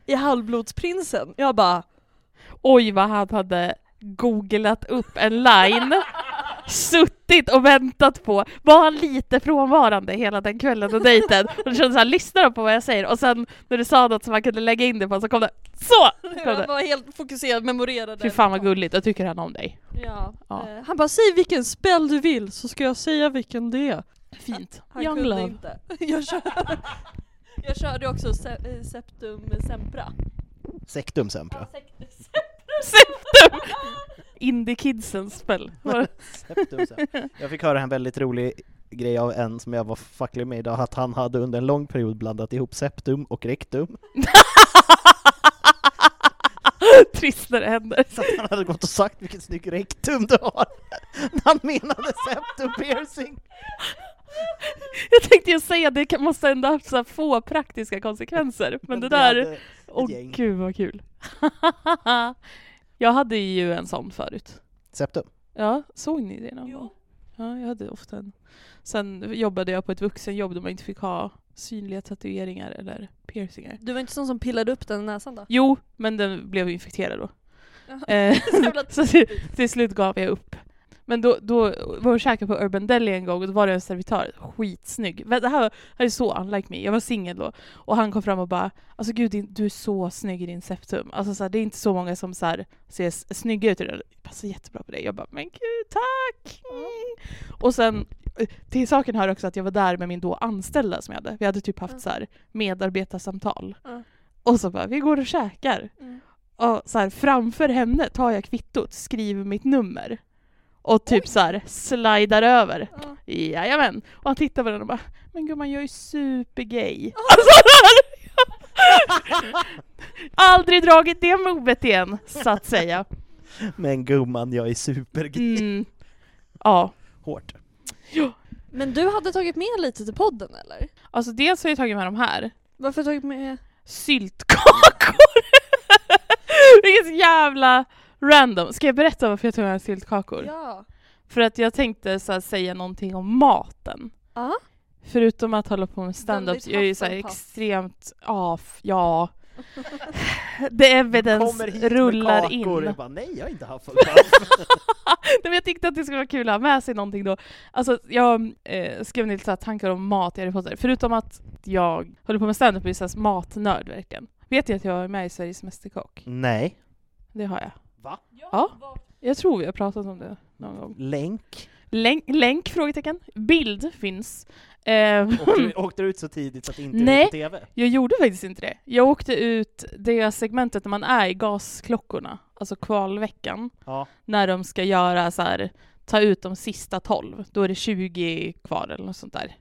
B: i Halvblodsprinsen. Jag bara
C: Oj vad han hade googlat upp en line, suttit och väntat på. Var han lite frånvarande hela den kvällen och dejten? Och det kändes såhär, lyssnar de på vad jag säger? Och sen när du sa något som man kunde lägga in det på så kom det så! Kom
B: han
C: det.
B: var helt fokuserad, memorerade.
C: Fy fan vad gulligt, då tycker han om dig.
B: Ja.
C: Ja.
B: Eh, Han bara säg vilken spel du vill så ska jag säga vilken det är.
C: Fint.
B: Han
C: Young
B: kunde
C: love.
B: inte. [LAUGHS] Jag körde, [LAUGHS] jag körde också se, eh, Septum Sempra.
A: Sektum sempra.
C: Septum! Indie kidsens spel. [LAUGHS]
A: Septum sempra. Jag fick höra en väldigt rolig grej av en som jag var facklig med idag, att han hade under en lång period blandat ihop septum och rektum. [LAUGHS]
C: Trist när det händer.
A: Så att han hade gått och sagt vilken snygg rektum du har! [LAUGHS] När han menade septum piercing!
C: [LAUGHS] Jag tänkte ju säga att det kan- måste ändå ha haft så här få
A: [LAUGHS]
C: praktiska konsekvenser, men det där...
A: hade ett
C: Åh
A: gäng.
C: gud vad kul. [LAUGHS] jag hade ju en sån förut.
A: Septum.
C: Ja, såg ni det någon gång? Ja, jag hade ofta en. Sen jobbade jag på ett vuxenjobb där man inte fick ha synliga tatueringar eller piercingar.
B: Du var inte sån som pillade upp den näsan då?
C: Jo, men den blev infekterad då.
B: Jaha. [LAUGHS]
C: Eh, [LAUGHS]
B: Så jävla
C: så till, till slut gav jag upp. Men då, då var jag och käkade på Urban Deli en gång och då var det en servitör, skitsnygg. Men Det här, var- det här är så unlike me, jag var singel då. Och han kom fram och bara Alltså gud din, du är så snygg i din septum. Alltså så här, det är inte så många som så här, ser s- snygga ut i den. Det passar jättebra på dig. Jag bara men gud tack! Mm. Och sen eh, till saken hör också att jag var där med min då anställda som jag hade. Vi hade typ haft
B: Mm.
C: så här medarbetarsamtal.
B: Mm.
C: Och så bara vi går och käkar.
B: Mm.
C: Och så här, framför henne tar jag kvittot, skriver mitt nummer. Och typ så här slidar över.
B: Ja.
C: Jajamän! Och han tittar på den och bara Men gumman jag är ju supergay. [LAUGHS] Alltså, Aldrig dragit det movet igen, så att säga.
A: Men gumman, jag är supergay.
C: Mm. Ja.
A: [LAUGHS] Hårt.
B: Men du hade tagit med lite till podden eller?
C: Alltså dels har jag tagit med de här.
B: Varför tagit med?
C: Syltkakor! [LAUGHS] Vilket jävla random. Ska jag berätta varför jag tog med syltkakor?
B: Ja.
C: För att jag tänkte så här, säga någonting om maten.
B: Ja.
C: Förutom att hålla på med stand-ups,
B: Väldigt
C: jag är ju så här
B: Hufflepuff.
C: extremt, ja, f- ja. The evidence
A: Kommer hit med
C: rullar
A: kakor.
C: in.
A: Jag bara, nej jag har inte haft
C: [LAUGHS]
A: Hufflepuff.
C: Nej, men jag tyckte att det skulle vara kul att ha med sig någonting då. Alltså jag eh, skrev ner lite så här tankar om mat i Harry Potter. Förutom att jag håller på med stand-up och är så här matnörd verkligen. Vet ni att jag är med i Sveriges Mästerkock?
A: Nej.
C: Det har jag.
A: Va?
C: Ja. Jag tror vi har pratat om det någon gång.
A: Länk?
C: Länk? länk frågetecken. Bild finns.
A: [LAUGHS]
C: Eh,
A: Åkte
C: [LAUGHS]
A: du, åkte du ut så tidigt att det inte
C: Nej.
A: är på TV?
C: Jag gjorde faktiskt inte det. Jag åkte ut det segmentet när man är i gasklockorna, alltså kvalveckan,
A: Ja.
C: när de ska göra så här, ta ut de sista 12. Då är det 20 kvar eller något sånt där.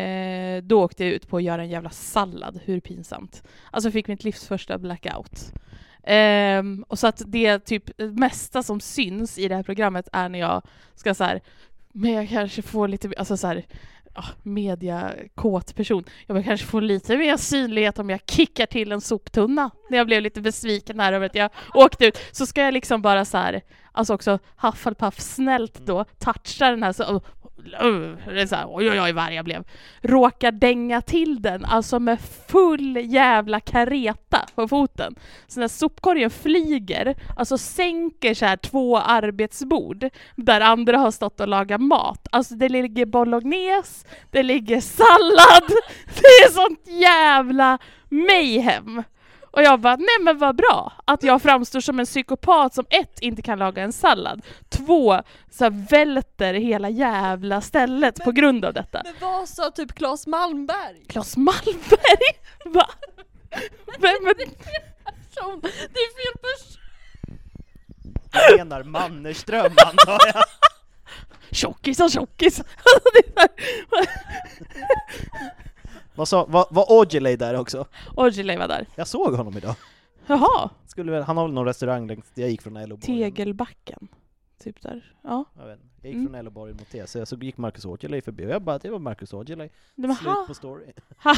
C: Eh, då åkte jag ut på att göra en jävla sallad, hur pinsamt. Alltså jag fick mitt livs första blackout. Ehm, och så att det typ det mesta som syns i det här programmet är när jag ska så här, men jag kanske får lite, alltså så här, ja, mediakåt person. Jag vill kanske få lite mer synlighet om jag kickar till en soptunna när jag blev lite besviken här över att jag åkte ut. Så ska jag liksom bara så här, alltså också Hufflepuff snällt då, toucha den här så, oh, oh, det är så här, oj oj oj vad jag blev. Råkar dänga till den, alltså med full jävla kareta på foten. Så när sopkorgen flyger, alltså sänker så här två arbetsbord där andra har stått och lagat mat. Alltså det ligger bolognese, det ligger sallad, [LAUGHS] det är sånt jävla mayhem. Och jag bara, nej men vad bra att jag framstår som en psykopat som ett, inte kan laga en sallad, två, så här, välter hela jävla stället på grund av detta.
B: Men vad sa typ Claes Malmberg?
C: Claes Malmberg? [LAUGHS] Va? Vem är
B: Som, det är fel person!
A: Du menar Mannerström [LAUGHS] antar jag?
C: Tjockisar, tjockisar! [LAUGHS] Alltså, det är så här-
A: Vad sa, var, var Aujalay där också?
C: Aujalay var där.
A: Jag såg honom idag.
C: Jaha!
A: Skulle väl, han har väl någon restaurang längst, jag gick från Elloborgen.
C: Tegelbacken. Typ där. Ja.
A: Jag, vet, inte. jag gick
C: Mm.
A: från Elloborgen mot T, så jag så gick Marcus Aujalay förbi och jag bara, det var Marcus Aujalay.
C: Nej, men
A: Slut
C: han,
A: på story. [LAUGHS]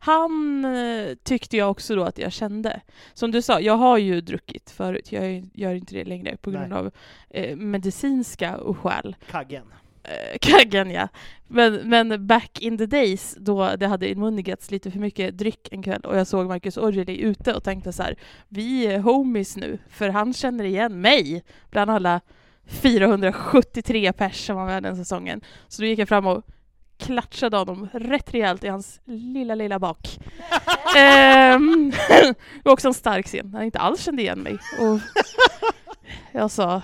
C: han eh, tyckte jag också då att jag kände. Som du sa, jag har ju druckit förut. Jag gör- gör inte det längre på grund
A: Nej.
C: av eh, medicinska skäl.
A: Kaggen.
C: Eh, Kaggen ja. Men, men back in the days då det hade inmunnigats lite för mycket dryck en kväll och jag såg Marcus Aujalay ute och tänkte så här, vi är homies nu för han känner igen mig bland alla 473 pers som var med den säsongen. Så då gick jag fram och klatschade honom rätt rejält i hans lilla, lilla bak. Ehm, [LAUGHS] det var också en stark scen när han inte alls kände igen mig. Och jag sa,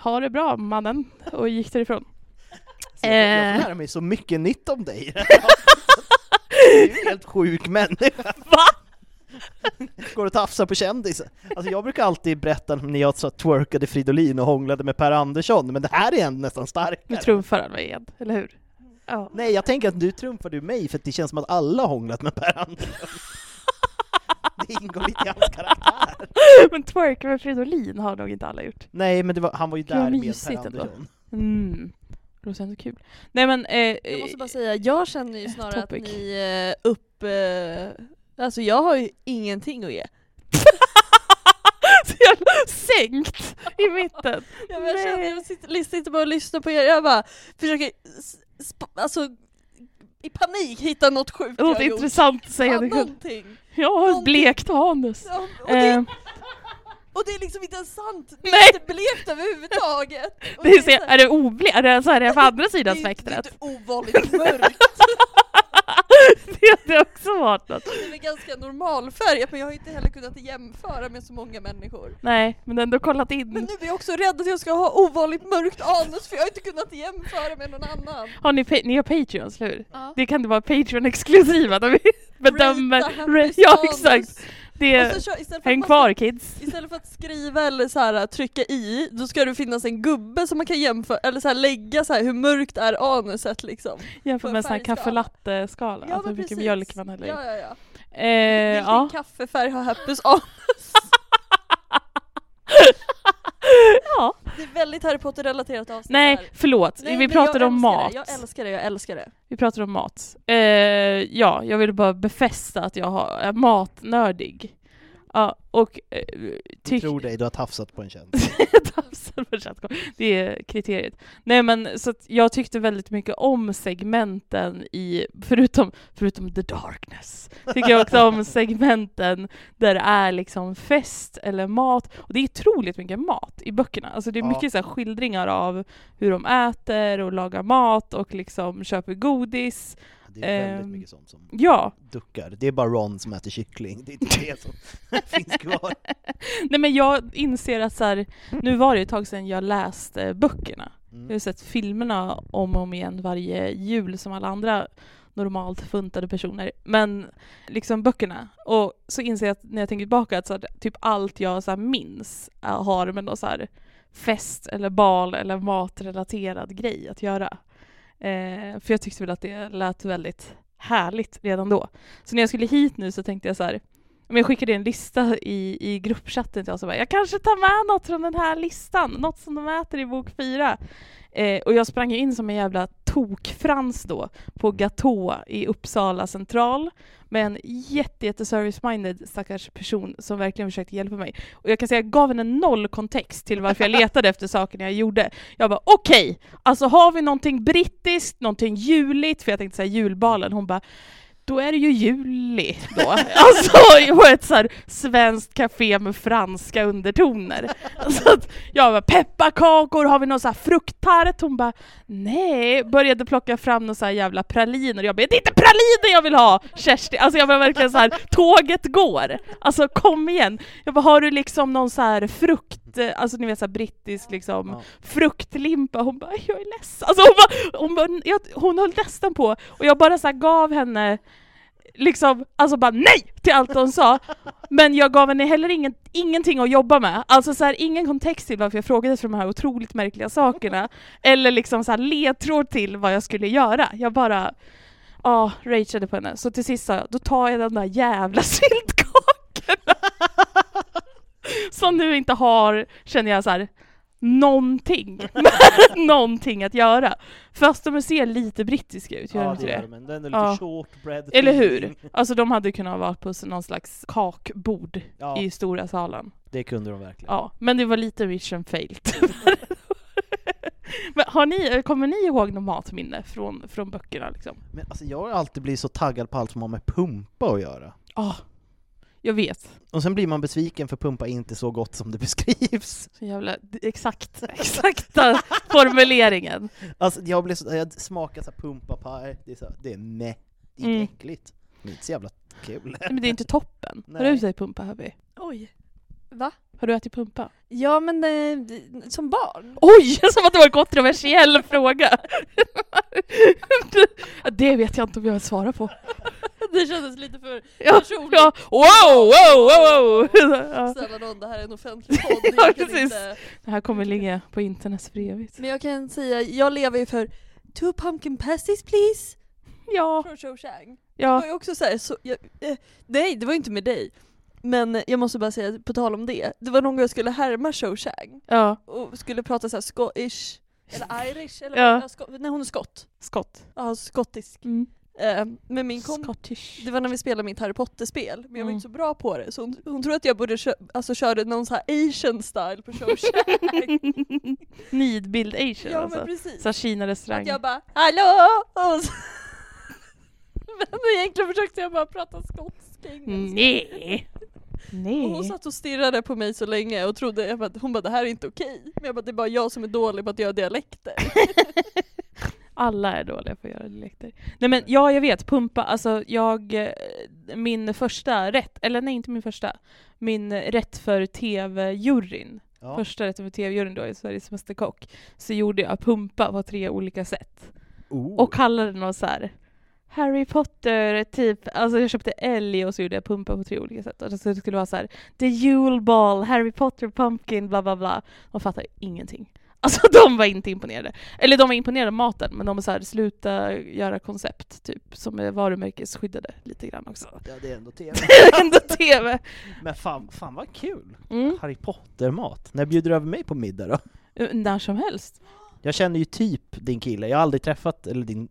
C: ha det bra mannen, och gick därifrån.
A: Så Jag, jag
C: Eh.
A: får lära mig så mycket nytt om dig
C: [LAUGHS]
A: [LAUGHS] i det här avsnittet. Du är ju en helt sjuk människa.
C: Va?
A: Går och tafsar på kändisar. Alltså jag brukar alltid berätta om när jag så twerkade Fridolin och hånglade med Per Andersson, men det här är ändå nästan
C: Nu
A: starkare.
C: trumfar han mig igen, eller hur? Ja.
A: Nej, jag tänker att du trumfar du mig för att det känns som att alla har hånglat med Per Andersson.
C: [LAUGHS]
A: Det ingår lite i hans karaktär.
C: [LAUGHS] Men twerka med Fridolin har nog inte alla gjort.
A: Nej, men det var, han var ju
C: Det var
A: där med Per
C: mysigt ändå.
A: Andersson.
C: Mm. Det låter ändå kul. Nej men... Eh,
B: Jag måste bara säga, jag känner ju snarare
C: Topic.
B: att ni eh, upp... Eh, alltså jag har ju ingenting att ge.
C: [LAUGHS] så jävla sänkt i mitten.
B: Jag, jag,
C: Nej.
B: känner, jag sitter, sitter bara och lyssnar på er, jag bara försöker s- sp- alltså, i panik hitta något sjukt
C: Det
B: jag
C: låter
B: har gjort.
C: intressant att
B: Ja,
C: säga. det.
B: någonting.
C: Jag har ett
B: någonting.
C: blekt hanus.
B: Ja, och, det,
C: Eh,
B: och det är liksom inte ens sant! Det är
C: Nej.
B: inte blekt
C: [LAUGHS]
B: överhuvudtaget! Och
C: det är, så,
B: så här-
C: är det oblekt? Är det, så här, är det
B: [LAUGHS]
C: på andra sidan
B: det är-
C: [LAUGHS] spektrat?
B: Det är inte ovanligt mörkt,
C: Det hade också varit något.
B: det är ganska normalfärgat men jag har inte heller kunnat jämföra med så många människor.
C: Nej, men ändå kollat
B: Men
C: in.
B: nu är jag också rädd att jag ska ha ovanligt mörkt anus för jag har inte kunnat jämföra med någon annan.
C: Har ni, pa- ni har Patreons, eller hur?
B: Ja.
C: Det kan inte vara Patreon-exklusiva där vi bedömer...
B: Rata
C: Re-
B: Hampus
C: ja,
B: anus.
C: exakt! Det
B: Och så kör, istället, för att
C: Häng
B: man
C: kvar kids!
B: Ska, istället för att skriva eller så här, äh, trycka i, då ska det finnas en gubbe som man kan jämföra, eller så här, lägga så här, hur mörkt är anuset liksom. på
C: Jämför
B: en
C: med en sån här
B: färgskala.
C: kaffelatte-skala, alltså hur mycket mjölk man häller i.
B: Ja, ja, ja.
C: Eh,
B: Vilken
C: ja.
B: kaffefärg har
C: [LAUGHS]
B: Hampus anus?
C: ja.
B: Det är väldigt Harry Potter-relaterat avsnitt här.
C: Nej, förlåt.
B: Nej,
C: vi
B: men jag
C: pratade om
B: älskar
C: mat.
B: Det. Jag älskar det, jag älskar det.
C: Vi pratade om mat. Eh, ja, jag ville bara befästa att jag har, är matnördig. Ja, och eh,
A: Du
C: tyck-
A: tror dig, du har tafsat på en kändis.
C: Tafsen på chattgolv. Det är kriteriet. Nej men så att jag tyckte väldigt mycket om segmenten i, förutom, förutom the darkness, tycker jag också om segmenten där det är liksom fest eller mat. Och det är otroligt mycket mat i böckerna. Alltså det är
A: Ja.
C: mycket så här skildringar av hur de äter och lagar mat och liksom köper godis.
A: Det är väldigt
C: Ehm.
A: mycket sånt som
C: Ja,
A: duckar. Det är bara Ron som äter kyckling, det är inte det
C: [LAUGHS]
A: som finns kvar.
C: nej men jag inser att så här, nu var det ett tag sedan jag läste böckerna. Jag har ju
A: Mm.
C: sett filmerna om och om igen varje jul som alla andra normalt funtade personer. Men liksom böckerna. Och så inser jag att när jag tänker tillbaka att så här, typ allt jag så här minns är- har med någon så här fest eller bal eller matrelaterad grej att göra. Eh, för jag tyckte väl att det lät väldigt härligt redan då. Så när jag skulle hit nu så tänkte jag så här, Men jag skickade en lista i, i gruppchatten till oss och bara, jag kanske tar med något från den här listan, något som de äter i bok fyra. Eh, och jag sprang ju in som en jävla tokfrans då på Gatå i Uppsala central med en jätte, jätte service-minded stackars person som verkligen försökte hjälpa mig. Och jag kan säga, jag gav henne noll kontext till varför jag letade efter sakerna jag gjorde. Jag bara okej, alltså har vi någonting brittiskt, någonting juligt, för jag tänkte säga julbalen, hon bara då är det ju juli då. Alltså på ett så här svenskt café med franska undertoner. Så att jag bara pepparkakor, har vi någon så här frukttart? Hon bara nej, började plocka fram någon så här jävla praliner. Jag bara det är inte praliner jag vill ha Kersti! Alltså jag var verkligen så här tåget går. Alltså kom igen. Jag bara har du liksom någon så här frukt, eh, alltså ni vet så här brittisk liksom
A: Ja.
C: fruktlimpa. Hon bara jag är ledsen. Alltså hon, bara, hon, bara, jag, hon höll nästan på och jag bara så här gav henne liksom, alltså bara nej till allt hon sa. Men jag gav henne heller ingen, ingenting att jobba med. Alltså så här, ingen kontext till varför jag frågade efter de här otroligt märkliga sakerna. Eller liksom så här ledtråd till vad jag skulle göra. Jag bara, ja, rageade på henne. Så till sist sa jag, då tar jag de där jävla [LAUGHS] syltkakorna. Som nu inte har, känner jag så här, någonting. [LAUGHS] någonting att göra. Fast de ser lite brittiska ut, gör de
A: Ja,
C: inte
A: det gör
C: det?
A: det, men den är lite
C: Ja.
A: shortbread
C: Eller
A: feeling.
C: hur? Alltså de hade ju kunnat vara på någon slags kakbord
A: Ja,
C: i stora salen.
A: det kunde de verkligen.
C: Ja, men det var lite mission [LAUGHS] failed. men har ni, kommer ni ihåg något matminne från, från böckerna liksom?
A: Men alltså jag har alltid blivit så taggad på allt som har med pumpa att göra.
C: Ja, jag vet.
A: Och sen blir man besviken för pumpa är inte så gott som det [LAUGHS] beskrivs.
C: Så jävla exakt, [LAUGHS] exakta formuleringen.
A: Alltså jag blev så, jag smakar så här pumpapaj, det är så här, det är meh, det är
C: Mm.
A: äckligt. Det är inte så jävla kul.
C: Nej, Men det är inte toppen. Har
A: Nej.
C: du ätit pumpa Happy?
B: Oj. Va?
C: Har du ätit pumpa?
B: Ja men eh, som barn.
C: Oj, [LAUGHS] som att det var en kontroversiell [LAUGHS] fråga! det vet jag inte om jag vill svara på.
B: [LAUGHS] Det kändes lite för
C: Ja,
B: personligt.
C: ja. Wow, wow, wow, wow!
B: [LAUGHS]
C: Ja.
B: Snälla nån, det här är en offentlig [LAUGHS] podd.
C: Ja,
B: Jag kan
C: precis.
B: inte...
C: Det här kommer ligga på internet för evigt.
B: Men jag kan säga, jag lever ju för Two pumpkin pasties please!
C: Ja,
B: Från Shawshank. Det var
C: ja.
B: ju också så här, så jag, eh, nej det var ju inte med dig. Men jag måste bara säga, på tal om det, det var någon gång jag skulle härma Shawshank
C: ja.
B: och skulle prata så här [LAUGHS] scottish, eller irish, eller
C: Ja.
B: ja. sko- nej hon är skott.
C: Skott.
B: Ja, skottisk.
C: Mm.
B: Eh, men min kom
C: Scottish.
B: det var när vi spelade mitt Harry Potter-spel, men jag var
C: Mm.
B: inte så bra på det så hon, hon trodde att jag borde kö- alltså, körde någon så här asian style på [LAUGHS] Shawshank.
C: Nidbild asian
B: ja men
C: alltså.
B: precis.
C: Så här Kina-restaurang.
B: Att jag bara [LAUGHS] hallå! Och så... Men egentligen försökte jag bara prata skotsk engelska.
C: Nej!
B: Och hon
C: Nej.
B: satt och stirrade på mig så länge och trodde, jag bara, hon bara det här är inte okej. Men jag bara det är bara jag som är dålig på att göra dialekter.
C: [LAUGHS] Alla är dåliga på att göra dialekter. Nej men ja, jag vet. Pumpa, alltså jag... eh, Min första rätt, eller nej inte min första. Min rätt för tv-juryn
A: Ja.
C: första rätten för tv-juryn då i Sveriges Mästerkock så gjorde jag pumpa på tre olika sätt
A: Oh.
C: och kallade den något så här Harry Potter, typ, alltså jag köpte älg och så gjorde jag pumpa på tre olika sätt. Alltså det skulle vara så här, The Yule Ball, Harry Potter Pumpkin, bla bla bla. De fattade ingenting. [LAUGHS] Alltså de var inte imponerade. Eller de var imponerade av maten, men de var så här, sluta göra koncept typ, som är varumärkesskyddade lite grann [LAUGHS] också.
A: Ja, det är ändå tv.
C: Ändå TV!
A: Men fan, fan vad kul!
C: Mm.
A: Harry Potter-mat. När bjuder du över mig på middag då?
C: Eh, När som helst.
A: Jag känner ju typ din kille, jag har aldrig träffat, eller din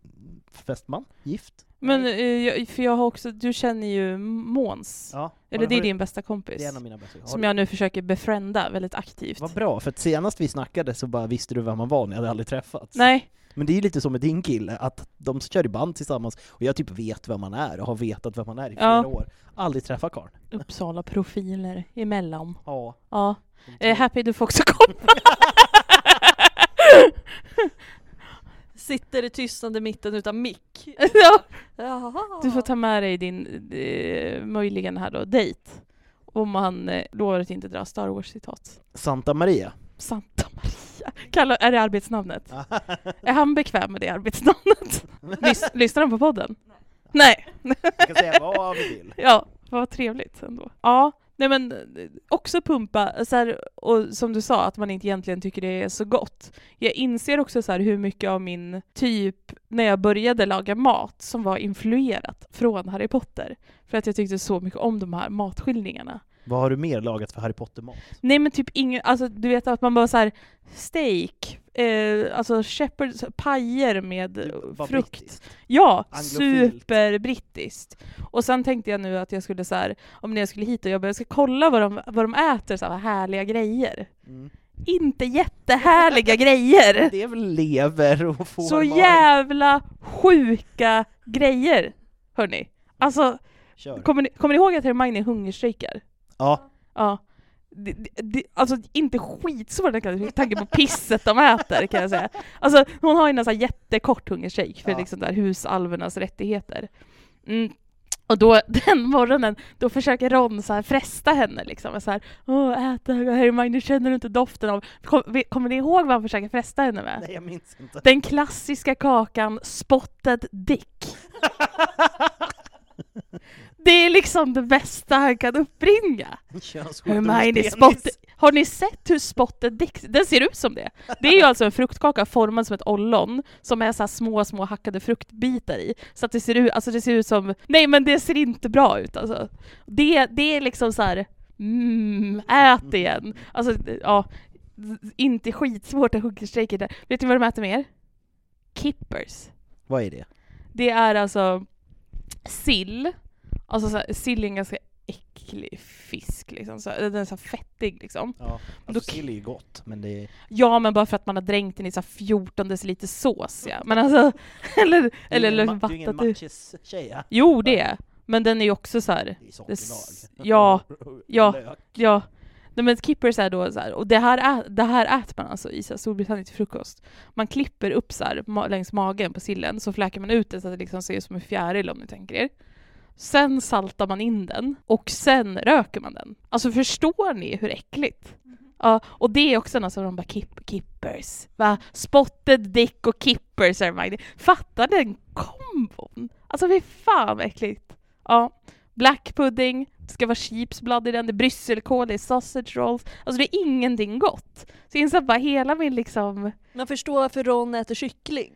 A: fästman, gift?
C: Men eh, jag, för jag har också, du känner ju Måns.
A: Ja.
C: Eller det är
A: Har du-
C: din bästa kompis.
A: Det är en av mina bästa
C: Som
A: Har-
C: jag nu försöker befrienda väldigt aktivt.
A: Vad bra, för att senast vi snackade så bara visste du vem han var, ni hade aldrig träffats. [LAUGHS]
C: Nej,
A: Men det är ju lite som med din kille, att de kör i band tillsammans och jag typ vet vem han är och har vetat vem han är i
C: Ja.
A: flera år. Aldrig träffat karln.
C: Uppsala profiler emellan.
A: Ja.
C: Ja.
A: de tror-
C: Eh, happy, du får också
A: [LAUGHS]
C: komma.
B: [LAUGHS] Sitter i tystnad i mitten utan mick.
C: ja.
B: Jaha.
C: Du får ta med dig din, eh, möjligen här då, dejt. Om han eh, lovar att inte dra Star Wars-citat.
A: Santa Maria.
C: Santa Maria. Kalla, är
A: [LAUGHS]
C: det arbetsnamnet? är han bekväm med det arbetsnamnet? Lys, lyssnar han på podden? Nej.
A: Vi kan säga vad vi vill.
C: Ja, vad trevligt ändå. Ja, Nej men eh, också pumpa, så här, och som du sa, att man inte egentligen tycker det är så gott. Jag inser också så här hur mycket av min typ, när jag började laga mat, som var influerat från Harry Potter. För att jag tyckte så mycket om de här matskildringarna.
A: [LAUGHS] Vad har du mer lagat för Harry Potter-mat?
C: Nej men typ ingen, alltså du vet att man bara så här steak, eh, alltså shepherds, pajer med eh,
A: Typ Vad
C: frukt.
A: brittiskt.
C: Ja,
A: Anglofilt.
C: superbrittiskt. Och sen tänkte jag nu att jag skulle så här, om när jag skulle hit och jobba, jag ska kolla vad de, vad de äter, så här, vad härliga grejer.
A: Mm.
C: Inte jättehärliga [LAUGHS] grejer!
A: Det är väl lever och får
C: Så jävla sjuka grejer, hörni. Alltså,
A: Kör.
C: kommer ni, kommer ni ihåg att Hermione hungerstrejkar?
A: Ja,
C: Ja. Det, det, det, alltså inte skitsvårt med tanke på pisset de äter kan jag säga. Alltså hon har ju en sån här jättekort hungerstrejk för
A: Ja.
C: liksom där husalvernas rättigheter. Mm. Och då [LAUGHS] den morgonen, då försöker Ron så här fresta henne liksom. Och så här, Åh, ät det här Hermione, känner du inte doften av... Kom, kommer ni ihåg vad han försöker fresta henne med?
A: nej jag minns
C: [LAUGHS]
A: inte.
C: Den klassiska kakan Spotted Dick. Det är liksom det bästa han kan uppbringa.
A: Könssjukdomspenis.
C: Hermione spott... Har ni sett hur spotted dick... Den ser ut som det! Det är ju alltså en fruktkaka formad som ett ollon, som är så här små, små hackade fruktbitar i. Så att det ser ut, alltså det ser ut som... Nej men det ser inte bra ut alltså. Det, det är liksom så här. Mm, ät igen! Alltså, ja. Inte skitsvårt att hungerstrejka där. Vet ni vad de äter mer? Kippers.
A: Vad är det?
C: Det är alltså sill. Alltså så här, sill är en ganska äcklig fisk liksom. Så, den är så här fettig liksom.
A: Ja,
C: Då-
A: alltså, sill är ju gott, men det är,
C: Ja men bara för att man har dränkt den i så här 14 deciliter sås ja. Men alltså, [LAUGHS] eller, eller,
A: det är
C: eller
A: ingen, ma- det är ingen
C: vattnat ur.
A: matches-tjej. ja.
C: Jo det är Men den är ju också så här,
A: Det är sockerlag.
C: Det s- ja, [LAUGHS] ja.
A: Lök.
C: ja. Nej men kippers är då så här, och det här, ä, det här äter man alltså i så här, Storbritannien till frukost. Man klipper upp så här, ma- längs magen på sillen, så fläker man ut den så att det liksom ser ut som en fjäril om ni tänker er. Sen saltar man in den och sen röker man den. Alltså förstår ni hur äckligt? Ja, och det är också något som de bara Kipp, kippers. Va? Spotted dick och kippers Hermione. Fattar den kombon? Alltså fy fan vad äckligt. Ja. Black pudding, det ska vara sheepsblad i den, det är brysselkål, det är sausage rolls. Alltså det är ingenting gott. Så jag inser att bara hela min liksom... [LAUGHS]
B: Man förstår varför Ron äter kyckling.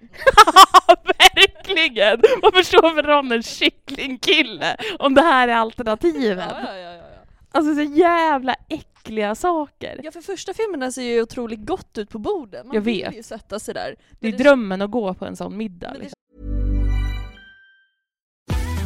C: Verkligen! Man förstår för Ron en kycklingkille om det här är alternativen.
B: Ja, ja, ja, ja, ja.
C: Alltså så jävla äckliga saker.
B: ja för första filmerna ser ju otroligt gott ut på borden. Man
C: Jag
B: vill
C: vet.
B: ju sätta sig där.
C: Det är
B: Men
C: drömmen att gå på en sån middag.
B: men det
C: Liksom.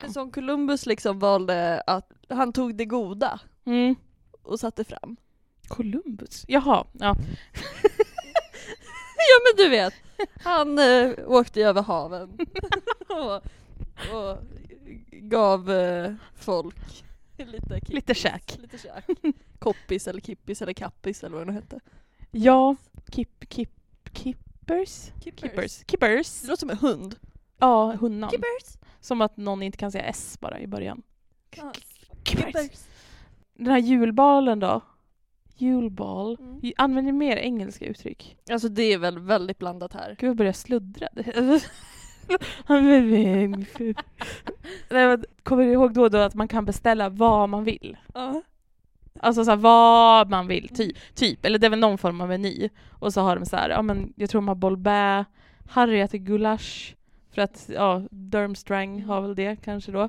B: det är som Columbus liksom valde att han tog det goda
C: Mm.
B: och satte fram.
C: Columbus? Jaha,
B: [LAUGHS]
C: ja.
B: Ja men du vet, han eh, åkte över haven [LAUGHS] och, och gav eh, folk lite, kippis,
C: Lite käk.
B: lite käk. Koppis eller kippis eller kappis eller vad det nu hette.
C: Ja, kip, kip, kippers?
B: Kippers.
C: Kippers. Kippers.
B: Det låter som en hund.
C: Ja, hunnan.
B: Kippers!
C: Som att någon inte kan säga S bara i början.
B: Ja.
C: Kippers. Den här julbalen då? Julbal.
B: Mm.
C: Ju- Använder ni mer engelska uttryck?
B: Alltså det är väl väldigt blandat här.
C: Gud, jag börjar sluddra. [LAUGHS]
B: [LAUGHS]
C: Nej, men, kommer du ihåg då, och då att man kan beställa vad man vill?
B: Ja.
C: Alltså så här, vad man vill, typ, typ. Eller det är väl någon form av meny. Och så har de så här, ja men jag tror de har bol bä, Harry äter gulasch, för att ja, Durmstrang har väl det kanske då.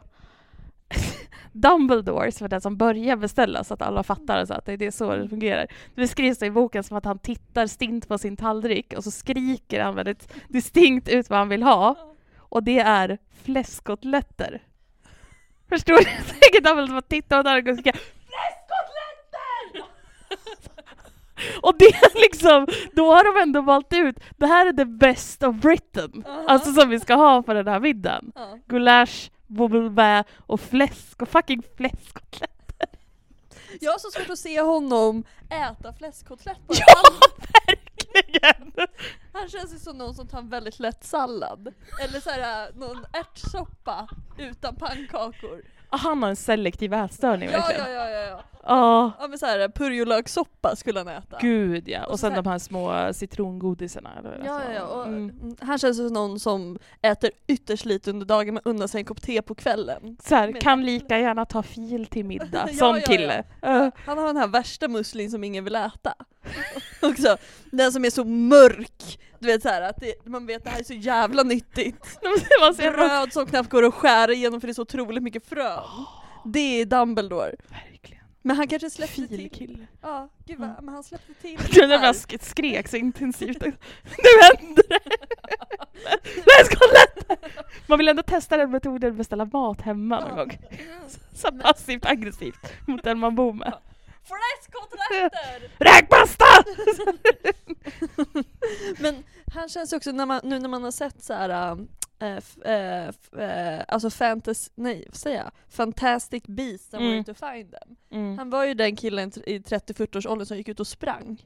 C: [LAUGHS] Dumbledore, som är den som börjar beställa så att alla fattar så att det är det så det fungerar. Det beskrivs då i boken som att han tittar stint på sin tallrik och så skriker han väldigt distinkt ut vad han vill ha. Och det är fläskkotletter. Förstår ni? [LAUGHS] Tänker Dumbledore bara titta åt alla och skrika fläskkotletter! [LAUGHS] och det är liksom, då har de ändå valt ut, det här är the best of Britain. Alltså som vi ska ha på den här middagen.
B: Ja.
C: Gulasch, bubble bä och fläsk och fucking fläskkotletter.
B: Jag har så svårt att se honom äta fläskkotlett bara. Han,
C: verkligen!
B: han känns ju som någon som tar en väldigt lätt sallad. Eller såhär någon ärtsoppa utan pannkakor.
C: Ah, Han har en selektiv ätstörning
B: Ja,
C: verkligen.
B: ja, ja, ja. ja.
C: Ja,
B: ja men såhär purjolökssoppa skulle han äta.
C: gud ja. Och
B: så
C: sen
B: här-
C: de här små citrongodisarna. eller vad
B: Ja,
C: det
B: ja,
C: var.
B: ja. Och,
C: Mm.
B: mm. Han känns som någon som äter ytterst lite under dagen men unnar sig en kopp te på kvällen.
C: Så här,
B: Men-
C: kan lika gärna ta fil till middag
B: [LAUGHS] Ja,
C: som
B: ja,
C: kille.
B: [LAUGHS]
C: Ja. [LAUGHS]
B: Han har den här värsta muslin som ingen vill äta. [LAUGHS] Också, den som är så mörk, du vet såhär att det, man vet att det här är så jävla nyttigt.
C: det var så jävla...
B: Röd som knappt går att skära igenom för det är så otroligt mycket
C: [GASPS]
B: frön. Det är Dumbledore.
C: Verkligen.
B: Men han kanske släppte till.
C: Filkille. [LAUGHS] Mm.
B: Ja, gud vad, men han släppte till.
C: Det där jag sk- skrek
B: [LAUGHS]
C: så intensivt. Nu händer det! [LAUGHS] Fläskkotlett! Man vill ändå testa den metoden att beställa mat hemma någon gång. [LAUGHS] Så här passivt aggressivt mot den man
B: [LAUGHS]
C: bor med.
B: Fläskkotletter! [LAUGHS]
C: [LAUGHS] Räkpasta!
B: Men han känns ju också, när man, nu när man har sett så här, äh, f, äh, f, äh, alltså fantasy, nej vad säger jag? Fantastic beasts and where
C: Mm.
B: to find them.
C: Mm.
B: Han var ju den killen t- i 30-40-årsåldern som gick ut och sprang.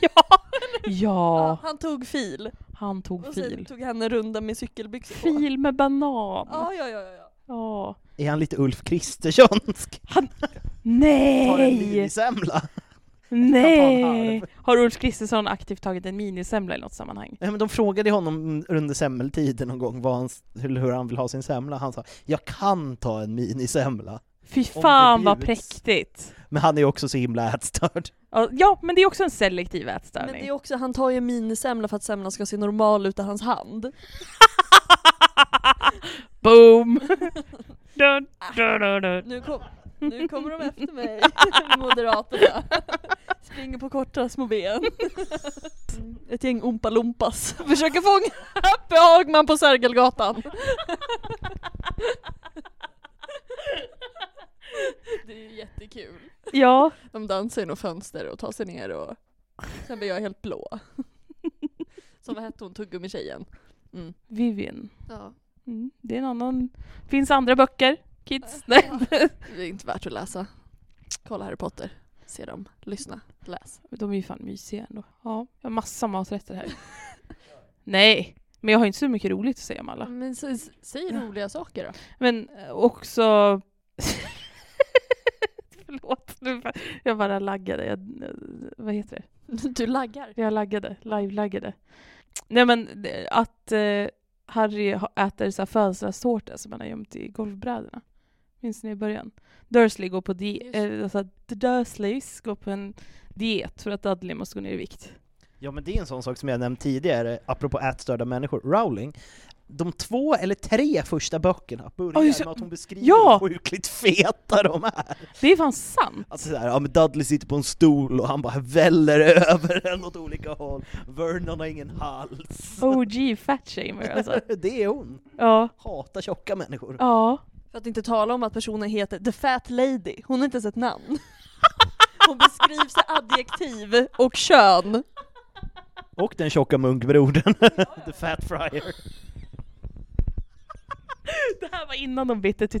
C: Ja.
B: Ja,
C: ja,
B: han tog fil,
C: han tog
B: och sen
C: fil.
B: tog han en runda med cykelbyxor på.
C: Fil med banan.
B: Ja, ja, ja, ja, ja.
C: Ja.
A: Är han lite Ulf Kristerssonsk? Har en
C: Nej!
A: minisemla?
C: Nej! Har Ulf Kristersson aktivt tagit en minisemla i något sammanhang?
A: Nej men de frågade honom under semmeltiden någon gång vad han, hur hur han vill ha sin semla, han sa ”Jag kan ta en minisemla”.
C: Fy fan vad
A: bjuds.
C: präktigt!
A: Men han är ju också så himla ätstörd.
C: Ja, Ja, men det är också en selektiv
B: Men det
C: ätstörning.
B: är också, han tar ju en minisemla för att semlan ska se normal ut i hans hand.
C: [LAUGHS] Boom! dun, dun, dun, dun.
B: Nu, kom, nu kommer de efter [LAUGHS] mig, Moderaterna. [LAUGHS] Springer på korta små
C: [LAUGHS]
B: ben. Mm, Ett gäng Oompa-Loompas [LAUGHS] försöker fånga Happy Hagman på Sergelgatan. [LAUGHS] Det är ju jättekul.
C: Ja,
B: De dansar genom fönster och tar sig ner och sen blir jag helt [LAUGHS] blå. Som vad hette hon, tuggummi-tjejen? Mm.
C: Vivian.
B: Ja.
C: Mm, det är en annan... Finns andra böcker? Kids? Nej. [LAUGHS]
B: Det är inte värt att läsa. Kolla Harry Potter. Se dem, lyssna, läs.
C: De är ju fan mysiga ändå. Ja, jag har massa
B: [LAUGHS]
C: maträtter här. Nej, men jag har inte så mycket roligt att säga om alla.
B: Men s- s- säg roliga saker då.
C: Men eh, också... [LAUGHS] Förlåt, nu fa- jag bara laggade. Jag, eh, vad heter
B: [LAUGHS] Du laggar.
C: det? Jag laggade, live-laggade. Nej men det- att eh, Harry ha- äter så här födelsedagstårta som han har gömt i golvbrädorna. Minns ni i början? Dursley går på
B: Just
C: diet,
B: det.
C: eh, alltså att Dursleys går på en diet för att Dudley måste gå ner i vikt.
A: Ja men det är en sån sak som jag nämnt tidigare, apropå ätstörda människor, Rowling. De två eller tre första böckerna börjar
C: Ja, just det.
A: med att hon beskriver
C: Ja.
A: hur sjukligt feta de är.
C: Det är fan sant!
A: Alltså såhär, ja men Dudley sitter på en stol och han bara väller [LAUGHS] över den åt olika håll. Vernon har ingen hals.
B: Alltså.
C: OG fat shamer alltså.
A: [LAUGHS] Det är hon.
C: Ja,
A: Hatar tjocka människor.
C: ja.
B: För att inte tala om att personen heter The Fat Lady. Hon har inte ens ett namn. [LAUGHS] Hon beskrivs i adjektiv och kön.
A: Och den tjocka munkbrodern. [LAUGHS] The Fat Friar.
C: Det här var innan de bytte till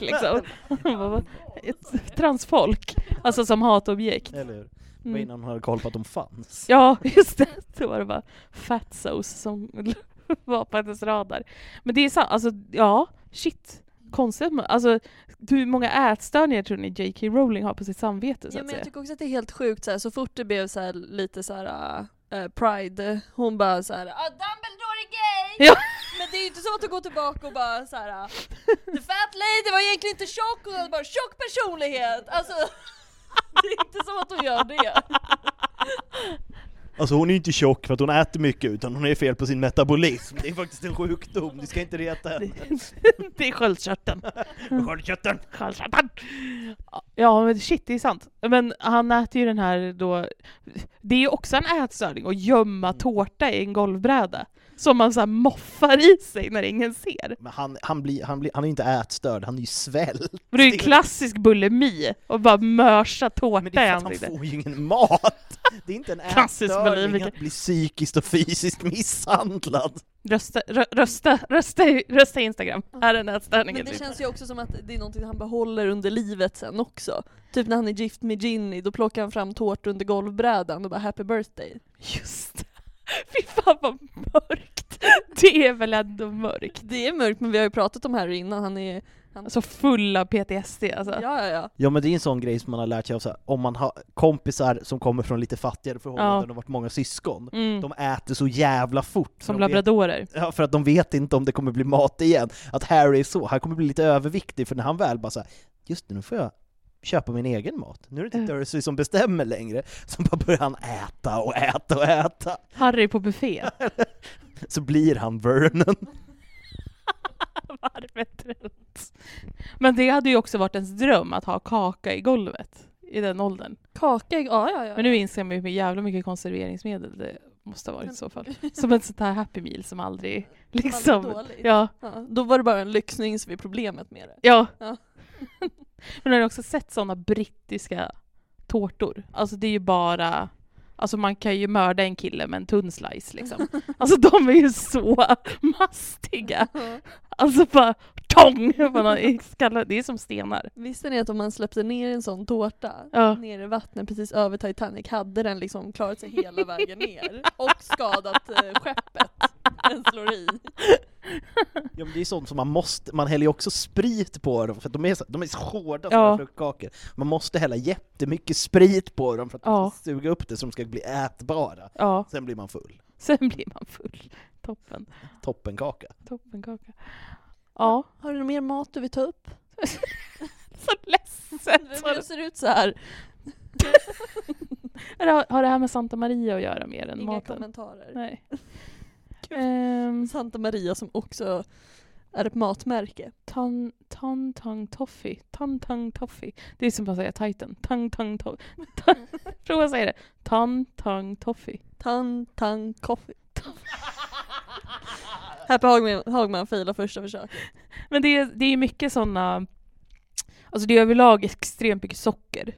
B: [LAUGHS]
C: liksom. [LAUGHS] Vad var- ett- transfolk, alltså som hatobjekt.
A: Eller hur? Det var
C: Mm.
A: innan hon hade koll på att de fanns.
C: Ja, just det. Då var det bara fatsos som [LAUGHS] var på hennes radar. Men det är sant, alltså ja, shit. Konstigt. men- Alltså, hur många ätstörningar tror ni J.K. Rowling har på sitt samvete? Så
B: Ja,
C: att
B: men jag
C: säga?
B: tycker också att det är helt sjukt så, här, så fort det blev så här, lite så här eh, pride, hon bara så här, ah, Dumbledore är gay!
C: Ja.
B: Men det är ju inte så att hon går tillbaka och bara så här, "Ah, The Fat Lady var egentligen inte tjock, hon hade bara tjock personlighet! Alltså, [LAUGHS] det är inte som att hon gör [LAUGHS] det.
A: Alltså hon är ju inte tjock för att hon äter mycket utan hon är fel på sin metabolism. Det är faktiskt en sjukdom, du ska inte reta henne.
C: [LAUGHS] Det är sköldkörteln.
A: Sköldkörteln!
C: Sköldkörteln. Ja men shit, det är sant. Men han äter ju den
A: Mm.
C: här då, det är ju också en ätstörning att gömma tårta i en golvbräda. som man så här moffar i sig när ingen ser.
A: Men han, han, blir, han, blir, han är ju inte ätstörd, han är ju svält.
C: Och det är ju klassisk bulimi, och bara mörsa
A: Men
C: tårta
A: det
C: i
A: är för att han
C: ansiktet.
A: får ju ingen mat! Det är inte en
C: [LAUGHS] Klassisk
A: ätstörning
C: bulimiker.
A: att bli psykiskt och fysiskt misshandlad.
C: Rösta, rö, rösta, rösta, i- rösta i Instagram. Är den ätstörning
B: Men
C: eller
B: det
C: inte?
B: känns ju också som att det är någonting han behåller under livet sen också. Typ när han är gift med Ginny, då plockar han fram tårta under golvbrädan och bara happy birthday.
C: Just det. [LAUGHS] Fy fan vad mörkt. Det är väl ändå mörkt.
B: Det är mörkt men vi har ju pratat om Harry innan, han är...
C: Alltså full av PTSD alltså.
B: Ja ja ja.
A: Ja men det är en sån grej som man har lärt sig av så här, om man har kompisar som kommer från lite fattigare förhållanden
C: Ja.
A: och varit många syskon,
C: Mm.
A: de äter så jävla fort. för
C: Som
A: de vet-
C: labradorer.
A: Ja, för att de vet inte om det kommer bli mat igen. Att Harry är så, han kommer bli lite överviktig för när han väl bara såhär, just det, nu får jag köpa min egen mat. Nu är det inte
C: Mm.
A: Dursley som bestämmer längre. Så bara börjar han äta och äta och äta.
C: Harry på buffé.
A: Så blir han Vernon.
C: [LAUGHS] Varvet runt. Men det hade ju också varit ens dröm att ha kaka i golvet i den åldern.
B: Kaka, ja ja ja.
C: Men nu inser man ju hur jävla mycket konserveringsmedel det måste ha varit i så fall. Som ett sånt här happy meal som aldrig
B: Aldrig
C: liksom...
B: dåligt.
C: Ja,
B: [LAUGHS] Ja, då var det bara en lyxning som är problemet med det.
C: ja. [LAUGHS]
B: Ja.
C: Men har du också sett sådana brittiska tårtor? Alltså det är ju bara... Alltså man kan ju mörda en kille med en tunn slice liksom. Alltså de är ju så mastiga. Alltså bara tång! på någon i skallen. Det är som stenar.
B: Visste ni att om man släppte ner en sån tårta
C: Ja.
B: ner i vattnet precis över Titanic hade den liksom klarat sig
C: [LAUGHS]
B: hela vägen ner och skadat eh, skeppet den slår i.
A: Ja, men det är sånt som man måste, man häller ju också sprit på dem för att de är så, de är så hårda
C: Ja.
A: ja. fruktkakor. Man måste hälla jättemycket sprit på dem för att
C: Ja.
A: de ska suga upp det så de ska bli ätbara.
C: Ja,
A: Sen blir man full.
C: sen blir man full. Toppen.
A: Toppenkaka.
C: Toppenkaka. Ja,
B: Har du någon mer mat du vill ta upp?
C: så [LAUGHS] ledset.
B: Jag ser ut så här.
C: Eller har- Har det här med Santa Maria att göra mer än
B: Inga
C: maten?
B: kommentarer.
C: Nej.
B: Gud.
C: Ehm,
B: Santa Maria som också är ett matmärke.
C: Tan, tan, tang, toffee. Tan, tang, toffee. Det är som att säga Titan. Tang, tang, toffee. [LAUGHS] Prova att säga det. Tan, tang, toffee.
B: Tan Tang
C: [LAUGHS]
B: Coffee. Happy Hagman, Hagman failar första försöket.
C: Men det är, det är mycket sådana... Alltså det är överlag extremt mycket socker.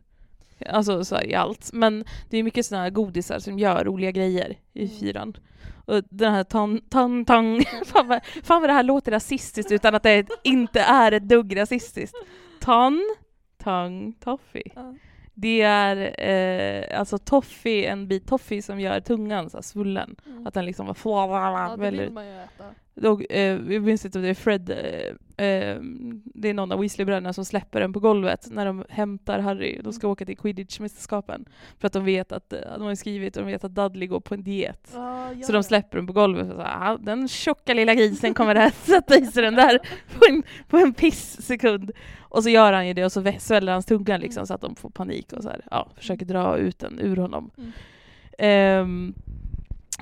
C: Alltså så här i allt. Men det är mycket sådana här godisar som gör roliga grejer i fyran. Och den här tan, tan, tang. [LAUGHS] Fan vad, fan vad det här låter rasistiskt utan att det inte är ett dugg rasistiskt. Tan, tang, toffee.
B: Ja.
C: Det är eh, alltså toffee, en bit toffee som gör tungan så här svullen. Att den liksom
B: Mm. Ja,
C: var
B: det vill man ju äta.
C: då, eh, jag minns inte om det är Fred, eh, eh, det är någon av Weasley-bröderna som släpper den på golvet när de hämtar Harry. De ska
B: Mm.
C: åka till quidditch-mästerskapen. För att de vet att, eh, de har ju skrivit, och de vet att Dudley går på en diet. Så de släpper den på golvet och så här, "Ah, den tjocka lilla grisen kommer att [LAUGHS] sätta i sig den där på en, på en piss-sekund. Och så gör han ju det och så vä- sväller hans tunga
B: Mm.
C: liksom så att de får panik och så här, ja, försöker dra ut den ur honom.
B: Mm.
C: Ehm,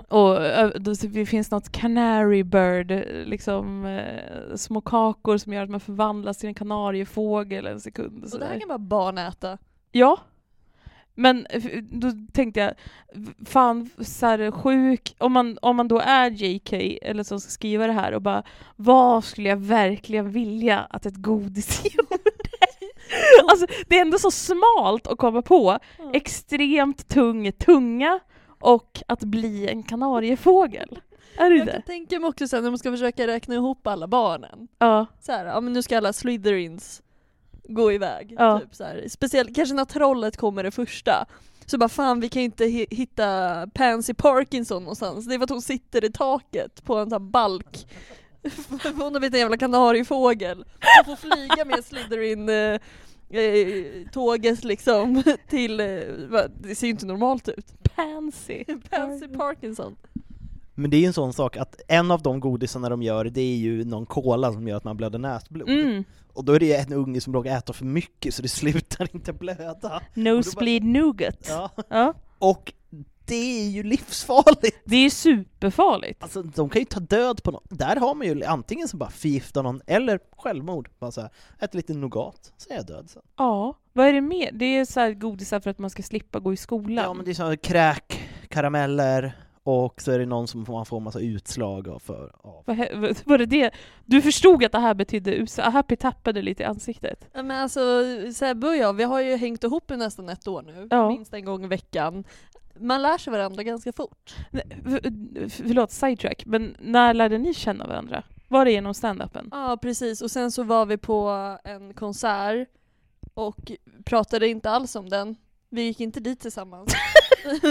C: och ö, då så det finns något canary bird, liksom eh, små kakor som gör att man förvandlas till en kanariefågel en sekund. Och så
B: Och det
C: där.
B: här kan bara barn äta.
C: Ja. Men eh, f- då tänkte jag, v- fan så här sjuk, om man, om man då är JK eller som ska skriva det här och bara vad skulle jag verkligen vilja att ett godis [LAUGHS] gjorde? alltså det är ändå så smalt att komma på, extremt tung tunga och att bli en kanariefågel. Är det
B: Jag
C: det?
B: kan tänka mig också sen när man ska försöka räkna ihop alla barnen.
C: Ja.
B: Så här, ja men nu ska alla Slytherins gå iväg.
C: Ja.
B: Typ, så här. Speciellt kanske när trollet kommer det första. Så bara fan vi kan inte hi- hitta Pansy Parkinson någonstans. Det är för att hon sitter i taket på en sån här balk. [LAUGHS] För hon har blivit en jävla kanariefågel. Hon får flyga med Slytherin eh, eh, tåget liksom till, eh, va, det ser ju inte normalt ut.
C: Pansy.
B: [LAUGHS] Pansy Parkinson.
A: Men det är ju en sån sak att en av de godisarna de gör, det är ju någon cola som gör att man blöder näsblod.
C: Mm.
A: Och då är det ju en unge som råkar äta för mycket så det [LAUGHS] slutar inte blöda.
C: Nosebleed nougat.
A: Ja.
C: Ja.
A: Och det är ju livsfarligt!
C: Det är superfarligt.
A: Alltså de kan ju ta död på någon. Där har man ju antingen som bara förgiftar någon, eller självmord. Bara så här, äter lite nougat, så är jag död sen.
C: Ja, vad är det mer? Det är så här godisar för att man ska slippa gå i skolan.
A: Ja men det är såhär kräk, karameller och så är det någon som man får massa utslag av för. Av.
C: Vad hä- vad- Var det det? Du förstod att det här betydde USA? Happy tappade lite i ansiktet.
B: Ja, Men alltså Sebbe och jag, vi har ju hängt ihop i nästan ett år nu,
C: Ja.
B: minst en gång i veckan. Man lär sig varandra ganska fort.
C: Nej, v- f- Förlåt, sidetrack, men när lärde ni känna varandra? Var det genom stand-upen?
B: Ja precis, och sen så var vi på en konsert och pratade inte alls om den. Vi gick inte dit [LAUGHS] tillsammans.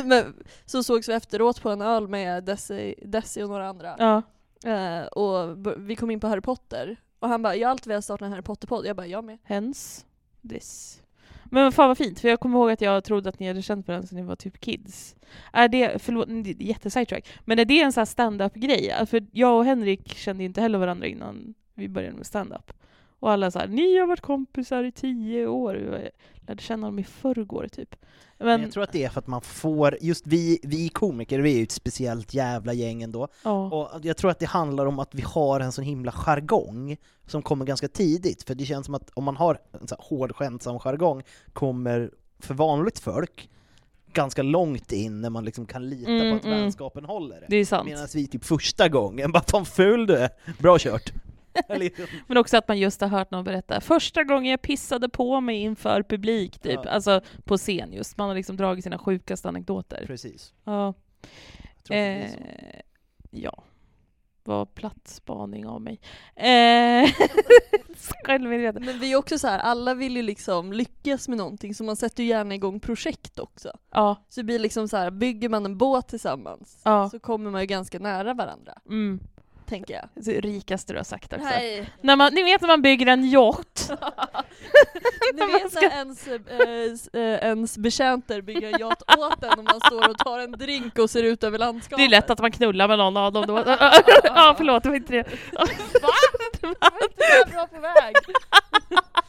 B: Men så sågs vi efteråt på en öl med Desi, Desi och några andra.
C: Ja.
B: Eh, och b- vi kom in på Harry Potter. Och han bara, jag har alltid velat starta en Harry Potter-podd. Jag bara, jag med.
C: Hence this. Men fan vad fint, för jag kommer ihåg att jag trodde att ni hade känt varandra sedan ni var typ kids. Är det, förlåt, det är jättesidetrack, men är det en sån här stand-up-grej? För jag och Henrik kände ju inte heller varandra innan vi började med stand-up. Och alla så här, ni har varit kompisar i tio år. Jag lärde känna dem i förrgår typ.
A: Men
C: Men,
A: jag tror att det är för att man får, just vi, vi komiker, vi är ju ett speciellt jävla gäng ändå.
C: ja.
A: Och jag tror att det handlar om att vi har en sån himla jargong som kommer ganska tidigt, för det känns som att om man har en sån här hård skämtsam jargong kommer för vanligt folk ganska långt in när man liksom kan lita
C: Mm,
A: på att
C: mm.
A: vänskapen håller.
C: det är sant.
A: Medan vi typ första gången bara fan ful du är, bra kört. [LAUGHS] Eller,
C: Men också att man just har hört någon berätta första gången jag pissade på mig inför publik, typ.
A: Ja.
C: Alltså på scen just. Man har liksom dragit sina sjukaste anekdoter.
A: precis.
C: Ja.
A: Jag tror att det blir så.
C: Eh, ja. Var platt spaning av mig. Eh, [LAUGHS] Självmedveten.
B: Men vi är också så här, alla vill ju liksom lyckas med någonting så man sätter ju gärna igång projekt också.
C: Ja,
B: Så det blir liksom så här, bygger man en båt tillsammans
C: ja.
B: så kommer man ju ganska nära varandra,
C: Mm.
B: tänker jag.
C: Det rikaste du har sagt också. [LAUGHS]
B: Nej,
C: När man, ni vet när man bygger en
B: [LAUGHS]
C: yacht.
B: ni vet när ens, eh, s- eh, ens betjänter bygger en yacht åt en och man står och tar en drink och ser ut över landskapet.
C: Det är lätt att man knullar med någon av dem
B: [LAUGHS]
C: då. ja, [LAUGHS] förlåt, det var inte det.
B: Jag vet inte vad jag var på väg. Ja,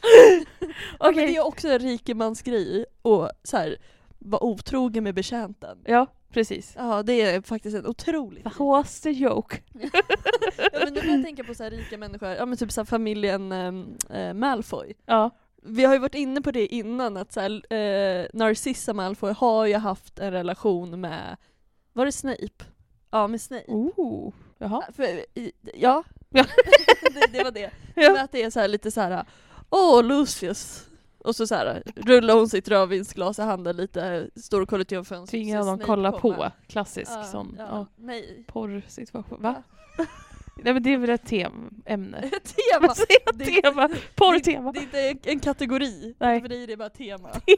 B: men
C: Okej.
B: det är också en rikemansgrej och så här, vara otrogen med betjänten.
C: Ja, precis.
B: Ja det är faktiskt en otroligt
C: What was the joke?
B: Ja, men nu börjar jag tänka på så här rika människor, ja men typ så här familjen ehm, eh, Malfoy.
C: [LAUGHS] Ja,
B: Vi har ju varit inne på det innan att så här, eh, Narcissa Malfoy har ju haft en relation med, var det Snape? Ja med Snape.
C: ooh. Jaha.
B: För, i, ja,
C: Ja.
B: [LAUGHS] det, det var det.
C: Ja.
B: Men alltså, att det är så här lite så här, åh Lucius. Och så, så här, rullar hon sitt rödvinsglas i handen lite, står och kollar ut genom fönstret.
C: Tvingar
B: Så
C: honom
B: Snape
C: kolla
B: kommer.
C: på. Klassisk
B: Ja,
C: sån.
B: ja,
C: Ja.
B: Nej. [LAUGHS]
C: Porrsituation. Va? Nej men det är väl ett tem- ämne.
B: Tema! Det är-
C: tema. Porrtema.
B: Det är inte en, en kategori,
C: Nej.
B: för dig är det bara tema.
C: Ja.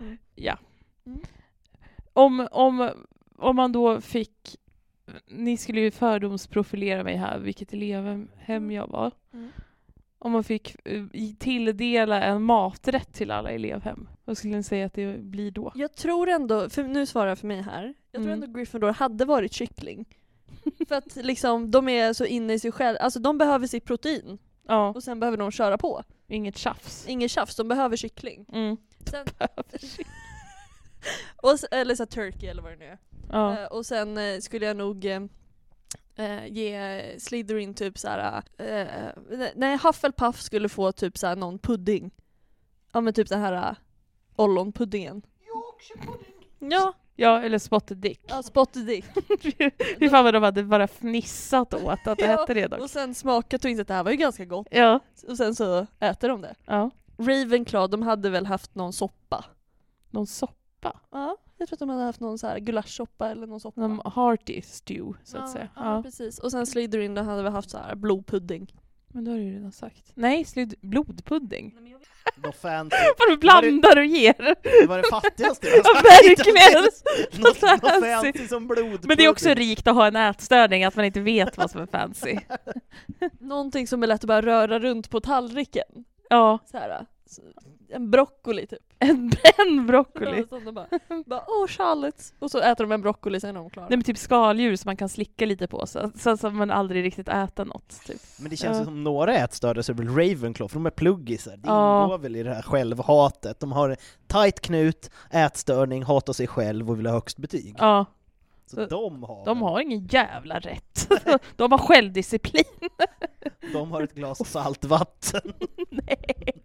B: Mm.
C: [LAUGHS] ja.
B: Mm.
C: Om, om, om man då fick, ni skulle ju fördomsprofilera mig här, vilket elevhem jag var.
B: Mm.
C: Om man fick eh, i- tilldela en maträtt till alla elevhem, vad skulle ni säga att det blir då?
B: Jag tror ändå, för nu svarar jag för mig här, jag tror
C: Mm.
B: ändå Gryffindor hade varit kyckling. [LAUGHS] för att liksom, de är så inne i sig själva, alltså de behöver sitt protein
C: Ja,
B: och sen behöver de köra på.
C: inget tjafs.
B: Inget tjafs, de behöver kyckling.
C: Mm.
B: Sen, [LAUGHS] och, s- eller så här, turkey eller vad det nu är.
C: Ja.
B: Eh, och sen eh, skulle jag nog eh, eh, ge Slytherin typ såhär, eh, ne- nej Hufflepuff skulle få typ såhär någon pudding. Ja men typ den här eh, ollonpuddingen. Ja,
C: ja, eller spotted dick.
B: ja spotted dick.
C: [LAUGHS] Fy fan vad de hade bara fnissat åt att det
B: Ja,
C: hette det dock.
B: Och sen smakat och insett att det här var ju ganska gott.
C: Ja,
B: Och sen så äter de det.
C: ja.
B: Ravenclaw, de hade väl haft någon soppa?
C: Någon soppa.
B: Ja, jag tror att de hade haft någon så här gulaschsoppa eller någon soppa.
C: Någon hearty stew, så att
B: ja,
C: säga.
B: Ja, precis. Och sen Slytherin, de hade väl haft så här blodpudding.
C: Men då har du ju redan sagt. Nej, slid, blodpudding.
A: De fans,
C: Vad du blandar och ger!
A: det var det fattigaste jag
C: [LAUGHS] Ja,
A: har sagt. [LAUGHS]
C: verkligen!
A: Något, något
C: Fancy.
A: fancy som blodpudding.
C: Men det är också rikt att ha en ätstörning, att man inte vet vad som är fancy.
B: [LAUGHS] Någonting som är lätt att bara röra runt på tallriken.
C: [LAUGHS] Ja,
B: Så här, så- en broccoli typ.
C: en, en broccoli.
B: [LAUGHS] Ja, så de bara, bara åh Charlotte! Och så äter de en broccoli sen är de klara.
C: Nej men typ skaldjur som man kan slicka lite på, så, så, så att man aldrig riktigt äter något. Typ.
A: Men det känns
C: Ja.
A: ju som några ätstörda så är det väl Ravenclaw, för de är pluggisar. Det
C: Ja.
A: ingår väl i det här självhatet. De har tight knut, ätstörning, hatar sig själv och vill ha högst betyg.
C: Ja,
A: så,
C: så-
A: de har,
C: de har ingen jävla rätt. [LAUGHS] De har självdisciplin. [LAUGHS]
A: de har ett glas saltvatten.
C: Nej.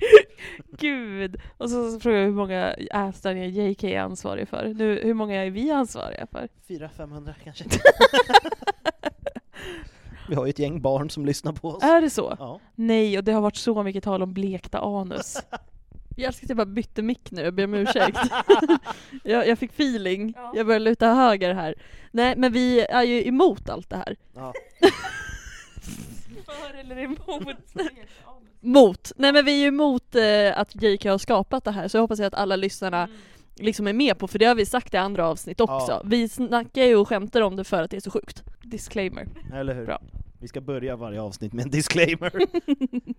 C: gud! Och så, så frågar jag hur många ätstörningar JK är ansvarig för. Nu, hur många är vi ansvariga för?
A: 400-500 kanske. [LAUGHS] Vi har ju ett gäng barn som lyssnar på oss.
C: Är det så?
A: Ja.
C: Nej, och det har varit så mycket tal om blekta anus.
B: [LAUGHS] Jag älskar att jag bara bytte mick nu, jag ber om
C: [LAUGHS]
B: ursäkt. jag, jag fick feeling, jag började luta höger här. Nej men vi är ju emot allt det här.
A: Ja.
C: för
B: [LAUGHS]
C: eller emot?
B: Mot! Nej men vi är ju emot eh, att JK har skapat det här så jag hoppas att alla lyssnarna liksom är med på, för det har vi sagt i andra avsnitt också.
A: Ja.
B: Vi snackar ju och skämtar om det för att det är så sjukt.
C: Disclaimer.
A: Eller hur?
C: Bra.
A: Vi ska börja varje avsnitt med en
C: [LAUGHS]
A: disclaimer.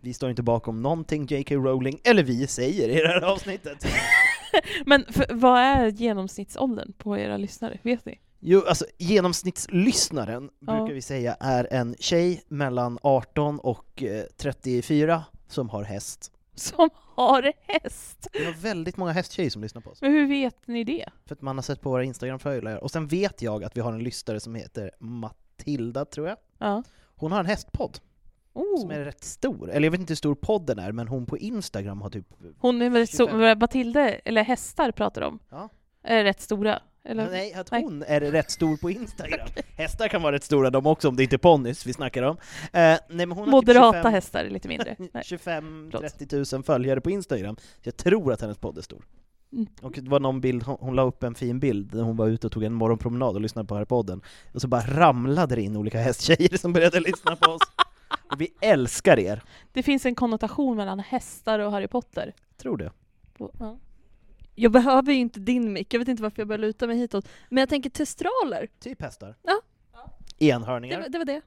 A: vi står inte bakom någonting J.K. Rowling, eller vi säger i det här avsnittet.
C: Men för, vad är genomsnittsåldern på era lyssnare? Vet ni?
A: Jo, alltså genomsnittslyssnaren
C: Ja.
A: brukar vi säga är en tjej mellan 18 och eh, 34 som har häst.
C: Som har häst!
A: Vi har väldigt många hästtjejer som lyssnar på oss.
C: Men hur vet ni det?
A: För att man har sett på våra Instagram-följare. Och sen vet jag att vi har en lyssnare som heter Matilda, tror jag.
C: Ja.
A: Hon har en hästpodd som
C: Oh.
A: är rätt stor. Eller jag vet inte hur stor podden är, men hon på Instagram har typ...
C: Hon är väl så,
A: 25.
C: Matilde, eller hästar pratar de om,
A: Ja.
C: är rätt stora. Eller?
A: Nej, att
C: Nej.
A: hon är rätt stor på
C: [LAUGHS]
A: Instagram. Hästar kan vara rätt stora de också, om det inte är ponnys vi snackar om. Eh, nej, men hon har
C: Moderata
A: typ 25
C: hästar är
A: [LAUGHS]
C: lite mindre. Nej.
A: 25-30 000 följare på Instagram. Jag tror att hennes podd är stor.
C: Mm.
A: Och det var någon bild, hon, hon la upp en fin bild när hon var ute och tog en morgonpromenad och lyssnade på här podden. Och så bara ramlade det in olika hästtjejer som började lyssna
C: [LAUGHS]
A: på oss. Och vi älskar er!
C: Det finns en konnotation mellan hästar och Harry Potter.
A: Tror du?
C: Ja.
B: Jag behöver ju inte din mick, jag vet inte varför jag började luta mig hitåt. Men jag tänker testraler,
A: Typ hästar.
B: Ja. det,
A: Enhörningar.
B: var- det var det.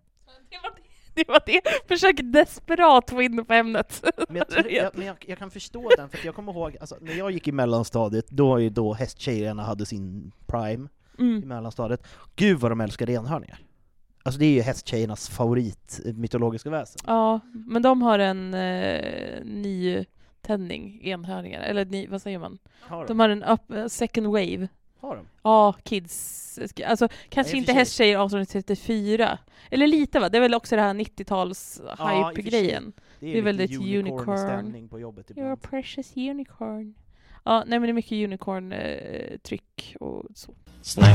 C: Det var det. Det var det. Försök desperat få in på ämnet.
A: Men, jag, tror- jag, men jag, jag kan förstå den, för att jag kommer ihåg, alltså, när jag gick i mellanstadiet, då var ju då hästtjejerna hade sin prime i
C: Mm.
A: mellanstadiet. Gud vad de älskade enhörningar! Alltså det är ju hästtjejernas favorit eh, mytologiska väsen.
C: Ja, men de har en eh, ny tändning, enhörningar, eller ny, vad säger man?
A: Har de?
C: De har en up, eh, second wave.
A: Har de?
C: Ja, kids. Alltså kanske
A: för
C: inte
A: sig.
C: hästtjejer 1834. Eller lite va? Det är väl också det här 90-tals
A: Ja, i och för sig.
C: hype-grejen.
A: Det är,
C: Det är väl
A: lite
C: ett unicorn.
A: unicorn-stämning på jobbet
C: You're a
A: ibland.
C: precious unicorn. Ja, nej men det är mycket unicorn-tryck och så.
D: Snipe,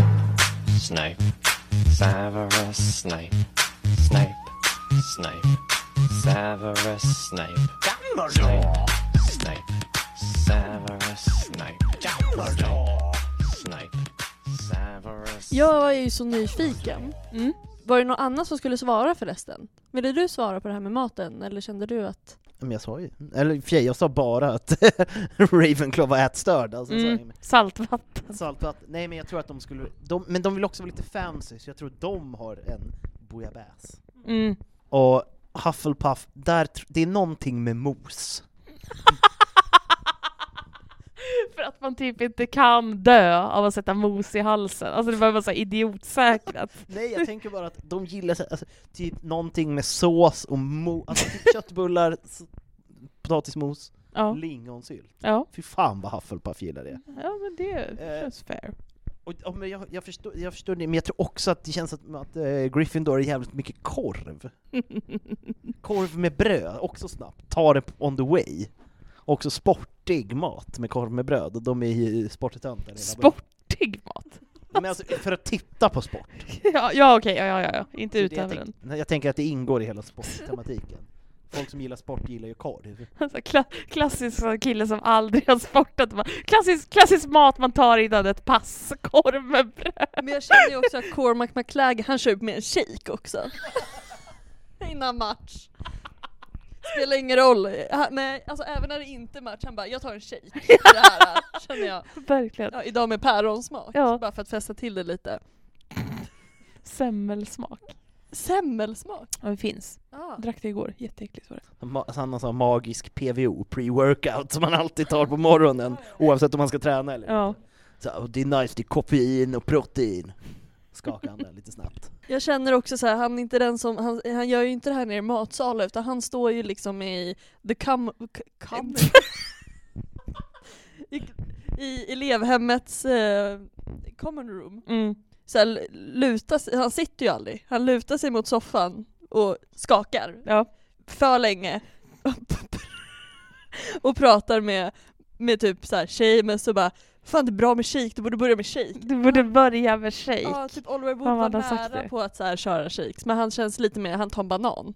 D: snipe, Severus Snipe, snipe, snipe, Severus Snipe, snipe, snipe, Severus Snipe, snipe, snipe, Severus.
B: Jag är ju så nyfiken.
C: Mm.
B: Var det någon annan som skulle svara förresten? Ville du svara på det här med maten eller kände du att...
A: Men jag sa ju, eller i och för sig, jag sa bara att [LAUGHS] Ravenclaw var ätstörd. Alltså, så
C: Mm. Saltvatten.
A: Saltvatten. Nej men jag tror att de skulle, de, men de vill också vara lite fancy, så jag tror de har en bouillabaisse.
C: Mm.
A: Och Hufflepuff, där, tr- det är någonting med mos.
C: [LAUGHS] För att man typ inte kan dö av att sätta mos i halsen. Alltså det var bara så här idiotsäkrat.
A: Nej jag tänker bara att de gillar så- alltså, typ någonting med sås och mos, alltså typ köttbullar, s- potatismos,
C: [LAUGHS] Ja, Mm.
A: lingonsylt.
C: ja.
A: Fy fan vad Hufflepuff gillar det.
C: ja men Eh, det känns fair.
A: Och, ja, men jag, jag, förstår, jag förstår det, men jag tror också att det känns att, att eh, Gryffindor är jävligt mycket korv. korv med bröd, också snabbt. Ta det on the way. Också sportig mat med korv med bröd, och de är ju sporttöntar hela bunten.
C: Sportig mat. [LAUGHS]
A: Men alltså, för att titta på sport.
C: Ja, ja okej, ja, ja, ja, ja. Inte
A: Så det jag,
C: utöver den.
A: tänk, [LAUGHS] nej, jag tänker att det ingår i hela sporttematiken. Folk som gillar sport gillar ju korv.
C: Alltså, kla klassisk sån kille som aldrig har sportat. Bara, klassisk, klassisk mat man tar innan ett pass. Korv med bröd.
B: Men jag kände ju också att Cormac McLagg, han kör upp med en shake också. [LAUGHS] Innan match. Spelar ingen roll. Han- nej, alltså även när det inte är match, han bara jag tar en shake. Det här äh, känner jag.
C: Verkligen.
B: Ja, idag med päronsmak.
C: Ja.
B: Bara för att fästa till det lite.
C: Semmelsmak.
B: Semmelsmak.
C: Ja, det finns.
B: Ah.
C: Jag drack det igår. Jätteäckligt var det.
A: Ma- alltså, Han har sån här magisk PVO, pre-workout, som man alltid tar på morgonen, oavsett om man ska träna eller
C: Ja.
A: Så, här, "Oh, det är nice, det är koffein och protein. Skakar han den lite snabbt.
B: Jag känner också så här, han är inte den som, han, han gör ju inte det här nere i matsalen utan han står ju liksom i the com... c-
C: [LAUGHS]
B: com I, I elevhemmets eh, common room.
C: Mm.
B: Så här, l- lutar sig, han sitter ju aldrig, han lutar sig mot soffan och skakar
C: Ja.
B: för länge. [LAUGHS] och pratar med, med typ så här tjej men så bara Fan det är bra med shake, du borde börja med shake.
C: Du borde börja med shake.
B: Ja, typ Oliver Wood
C: Fan,
B: var
C: vad han har sagt
B: nära
C: det.
B: på att så här, köra shakes men han känns lite mer, han tar en banan.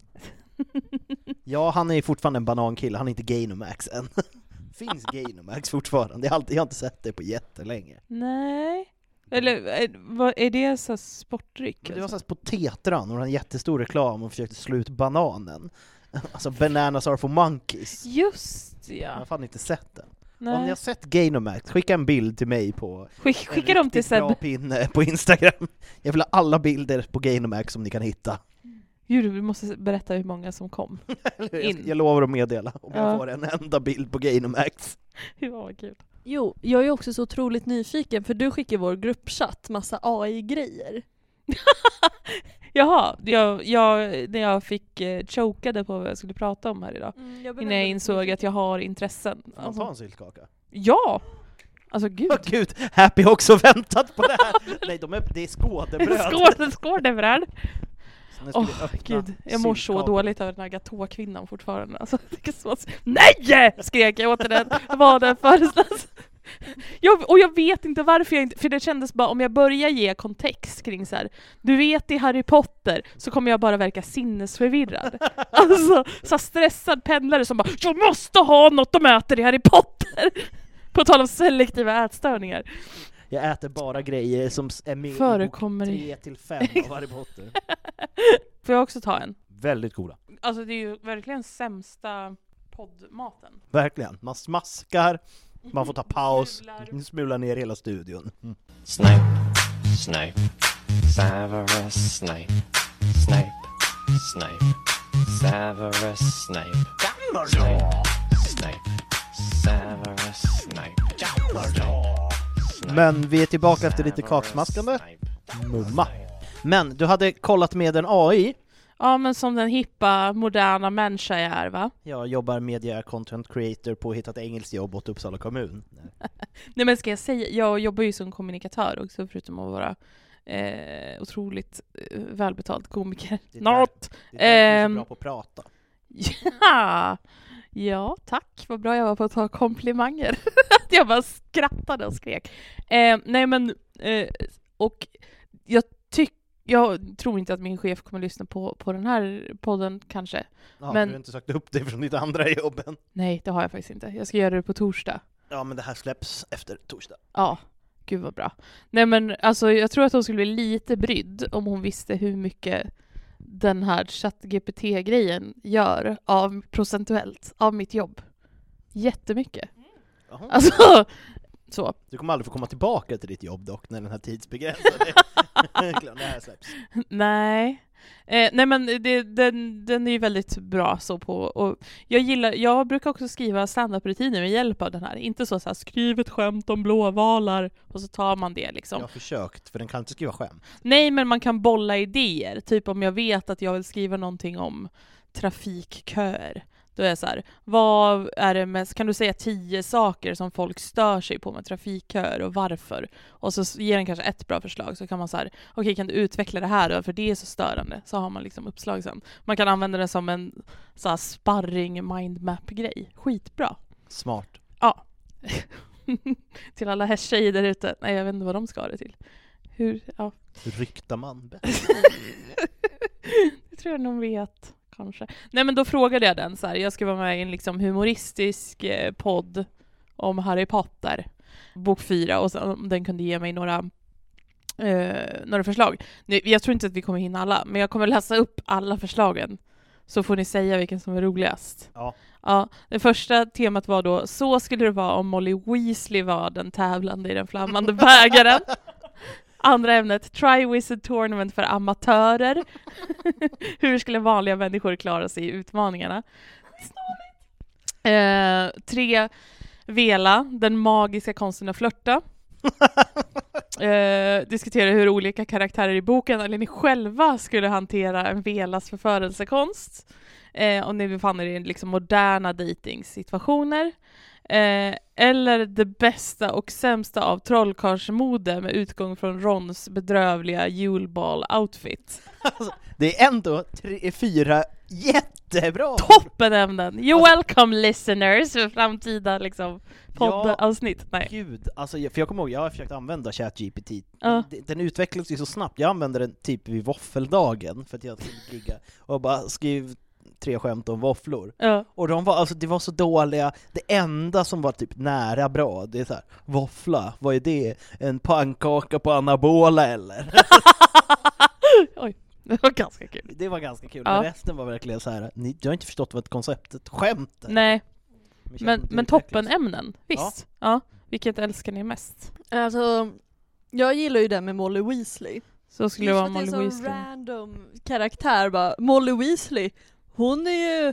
A: Ja, han är fortfarande en banankille, han är inte Gainomax än. [LAUGHS] Finns Gainomax fortfarande? Jag har, alltid, jag har inte sett det på jättelänge.
C: Nej. Eller är, vad, är det så här sportdryck?
A: Det var
C: alltså?
A: såhär på Tetran, och en jättestor reklam och försökte slå ut bananen. [LAUGHS] Alltså bananas are for monkeys.
C: Just
A: Jag har
C: ja.
A: fan inte sett den. Om ni
C: Nej.
A: har sett Gainomax, skicka en bild till mig på
C: Skick,
A: en
C: skicka dem till
A: riktigt
C: Seb.
A: bra pinne på Instagram. Jag vill ha alla bilder på Gainomax som ni kan hitta.
C: Gud, vi måste berätta hur många som kom.
A: [LAUGHS] Eller hur? Jag,
C: In.
A: ska- jag lovar att meddela om jag
C: Ja.
A: får en enda bild på Gainomax.
C: Ja, vad kul.
B: Jo, jag är också så otroligt nyfiken för du skickar i vår gruppchatt massa AI-grejer.
C: Jaha, jag, jag, när jag fick eh, chokade på vad jag skulle prata om här idag.
B: Mm,
C: Innan jag insåg att jag har intressen.
A: Får man ta
C: Alltså,
A: en syltkaka?
C: ja! Alltså gud.
A: Åh gud, Happy har också väntat på det
C: [LAUGHS]
A: här! Nej, de är, det är skådebröd!
C: Skål, skål det bröd!
A: Så nu ska
C: Åh
A: vi öppna
C: gud, jag mår så
A: syltkakor.
C: dåligt över den här Gatå-kvinnan fortfarande. Alltså, [LAUGHS] jag tycker så... Nej! Skrek jag åt den, vad den föreslås. alltså. Jag, och jag vet inte varför jag inte, för det kändes bara om jag börjar ge kontext kring så här. du vet i Harry Potter så kommer jag bara verka [LAUGHS] sinnesförvirrad. Alltså, så här stressad pendlare som bara jag måste ha något de äter i Harry Potter! [LAUGHS] På tal om selektiva ätstörningar.
A: Jag äter bara grejer som s- är med
C: Förekommer i-
A: i bok 3-5 av Harry
C: [LAUGHS]
A: Potter.
C: Får jag också ta en?
A: Väldigt goda.
C: Alltså det är ju verkligen sämsta poddmaten.
A: Verkligen. Man smaskar, man får ta paus,
C: Smular.
A: smula ner hela studion.
D: Snipe, snipe, Savarus snipe, snipe, snipe, Savarus snipe, snipe, snipe, Savarus snipe, snipe.
A: Men vi är tillbaka efter lite kaksmaskande. Mumma. Men du hade kollat med en AI.
C: Ja men som den hippa, moderna människa jag är va?
A: Jag jobbar media content creator på att hitta ett engelskt jobb åt Uppsala kommun.
C: Nej men ska jag säga, jag jobbar ju som kommunikatör också förutom att vara eh, otroligt eh, välbetald komiker.
A: Det är där-
C: Något!
A: Det är därför du är så
C: Ehm.
A: bra på att prata.
C: [LAUGHS] Ja. ja, tack. Vad bra jag var på att ta komplimanger. [LAUGHS] jag bara skrattade och skrek. Eh, nej men, eh, och jag tycker jag tror inte att min chef kommer lyssna på, på den här podden kanske.
A: Ja,
C: Men-
A: Du har inte sagt upp dig från ditt andra jobb än.
C: Nej, det har jag faktiskt inte. Jag ska göra det på torsdag.
A: Ja, men det här släpps efter torsdag.
C: Ja, gud vad bra. Nej men alltså jag tror att hon skulle bli lite brydd om hon visste hur mycket den här ChatGPT-grejen gör av procentuellt av mitt jobb. Jättemycket.
A: Jaha.
C: Alltså, [LAUGHS] så.
A: Du kommer aldrig få komma tillbaka till ditt jobb dock, när den här
C: [LAUGHS]
A: tidsbegränsade det här släpps.
C: Nej. Eh, nej men det, den, den är ju väldigt bra så på, och jag gillar, jag brukar också skriva standup-rutiner med hjälp av den här. Inte så, så här, skriv ett skämt om blåvalar och så tar man det liksom.
A: Jag har försökt, för den kan inte skriva skämt.
C: Nej, men man kan bolla idéer. Typ om jag vet att jag vill skriva någonting om trafikköer. Då är jag så här, vad är det mest, kan du säga tio saker som folk stör sig på med trafikköer och varför? Och så ger den kanske ett bra förslag så kan man så här, okej kan du utveckla det här då för det är så störande? Så har man liksom uppslag sen. Man kan använda det som en så här sparring mindmap-grej. Skitbra. [LAUGHS]
A: Smart.
C: Ja. till alla här tjejer där ute. Nej, jag vet inte vad de ska ha det till. Hur, ja,
A: Hur ryktar man bättre?
C: [LAUGHS] Det tror jag nog vet, kanske. Nej men då frågade jag den så här. jag ska vara med i en liksom humoristisk eh, podd om Harry Potter, bok fyra, och sen om den kunde ge mig några, eh, några förslag. Nu, jag tror inte att vi kommer hinna alla, men jag kommer läsa upp alla förslagen, så får ni säga vilken som är roligast.
A: Ja.
C: Ja, det första temat var då, så skulle det vara om Molly Weasley var den tävlande i den flammande bägaren. Andra ämnet, Try Wizard Tournament för amatörer. [LAUGHS] Hur skulle vanliga människor klara sig i utmaningarna? Eh, tre, Vela, den magiska konsten att flörta. Eh, diskutera hur olika karaktärer i boken, eller ni själva, skulle hantera en Velas förförelsekonst. Eh, om ni befann er i liksom moderna dejtingsituationer. Eh, eller det bästa och sämsta av trollkarlsmode med utgång från Rons bedrövliga julball-outfit.
A: Det är ändå tre, fyra Jättebra!
C: Toppenämnen! You're welcome listeners för framtida liksom poddavsnitt. Nej.
A: Gud, alltså, jag- för jag kommer ihåg, jag har försökt använda ChatGPT.
C: Ja.
A: D- Den utvecklades ju så snabbt, jag använde den typ vid våffeldagen för att jag skulle ligga och bara skriv tre skämt om våfflor.
C: [LAUGHS] Ja.
A: Och de var, alltså, det var så dåliga, det enda som var typ nära bra, det är så här, våffla, vad är det? En pannkaka på anabola eller?
C: Oj, det var ganska kul.
A: Det var ganska kul,
C: Ja.
A: men resten var verkligen så här. ni, jag har inte förstått vad konceptet skämt är.
C: Nej,
A: Men,
C: men, men toppenämnen. Visst. Ja. Vilket älskar ni mest?
B: Alltså, jag gillar ju den med Molly Weasley.
C: Så skulle det
B: Just
C: vara
B: att det är
C: Molly
B: en sån
C: Weasley.
B: random karaktär bara, Molly Weasley, hon är ju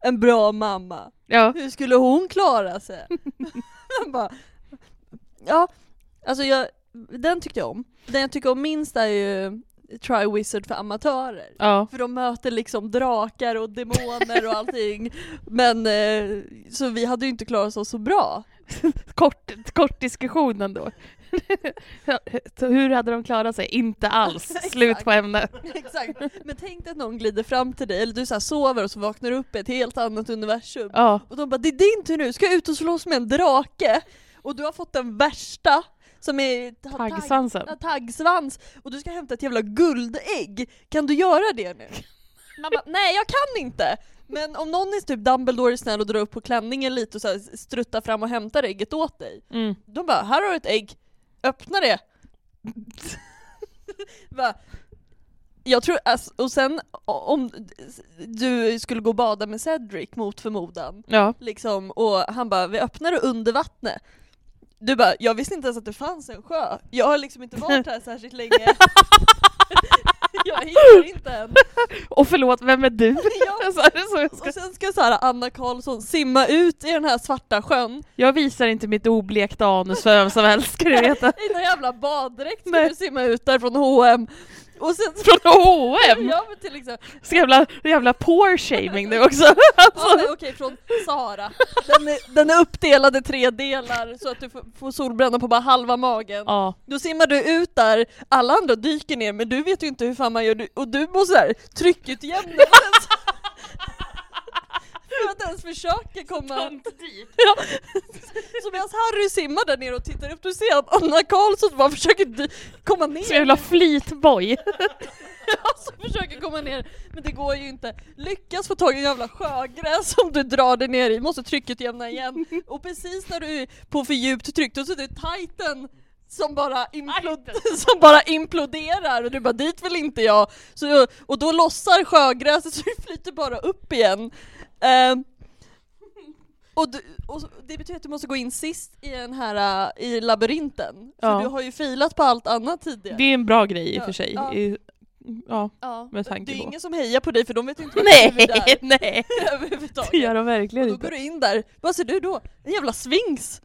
B: en bra mamma.
C: Ja.
B: Hur skulle hon klara sig? [LAUGHS] Man bara, ja, alltså jag, den tyckte jag om. Den jag tycker om minst är ju Try Wizard för amatörer.
C: Ja.
B: För de möter liksom drakar och demoner och allting. Men eh, så vi hade ju inte klarat oss så bra.
C: Kort, kort diskussion ändå. [LAUGHS] Så Hur hade de klarat sig? Inte alls.
B: [LAUGHS]
C: Slut på ämnet.
B: Exakt. Men tänk dig att någon glider fram till dig, eller du så här sover och så vaknar du upp i ett helt annat universum.
C: Ja.
B: Och de bara det är din tur nu, ska jag ut och slåss med en drake? Och du har fått den värsta som är har
C: Taggsvansen.
B: Tagg, taggsvans och du ska hämta ett jävla guldägg. Kan du göra det nu? Man bara, nej jag kan inte! Men om någon är typ Dumbledore är snäll och drar upp på klänningen lite och så här struttar fram och hämtar ägget åt dig.
C: Mm.
B: De bara, här har du ett ägg, öppna det! [LAUGHS] bara, jag tror, alltså, och sen om du skulle gå och bada med Cedric mot förmodan,
C: Ja.
B: liksom, och han bara vi öppnar det under vattnet. Du bara, jag visste inte ens att det fanns en sjö. Jag har liksom inte varit här särskilt länge. [LAUGHS] jag hittar inte än.
C: Och förlåt, vem är du?
B: [LAUGHS] Ja.
C: Så är det så jag, ska...
B: Och sen ska så här Anna Karlsson simma ut i den här svarta sjön
C: jag visar inte mitt oblekta anus för vem som helst, ska du veta.
B: i den jävla baddräkt ska
C: Nej.
B: du simma ut där från H&M Och sen
C: Från H&M
B: Ja men till [LAUGHS] exempel,
C: Så jävla, jävla poor-shaming nu också!
B: [LAUGHS] ja,
C: Alltså,
B: men okej från Sara. Den är, den är uppdelad i tre delar så att du får- får solbränna på bara halva magen.
C: ja.
B: Då simmar du ut där, alla andra dyker ner men du vet ju inte hur fan man gör du- och du måste såhär tryckutjämna För att ens försöka komma... Ja. Så medan Harry simmar där nere och tittar upp, du ser att Anna Karlsson bara försöker dy- komma ner.
C: Så jävla fleetboy!
B: [LAUGHS] Alltså försöker komma ner, men det går ju inte. Lyckas få tag i en jävla sjögräs som du drar dig ner i, måste trycket jämna igen. Och precis när du är på för djupt tryck, då sitter Titan som bara, implod- [LAUGHS] som bara imploderar och du bara dit vill inte jag. Så, och då lossar sjögräset [LAUGHS] så det flyter bara upp igen. Ehm, och, du, och så- det betyder att du måste gå in sist i den här, äh, i labyrinten. För
C: Ja.
B: du har ju filat på allt annat tidigare.
C: Det är en bra grej i och
B: Ja,
C: för sig.
B: ja.
C: I- Ja,
B: Ja,
C: med tanke
B: det är
C: på.
B: ingen som hejar på dig för de vet inte varför du är där
C: Nej, [LAUGHS]
B: [LAUGHS]
C: nej!
B: överhuvudtaget.
C: Det gör de
B: och
C: verkligen
B: då går
C: inte.
B: du in där, vad ser du då? En jävla svings!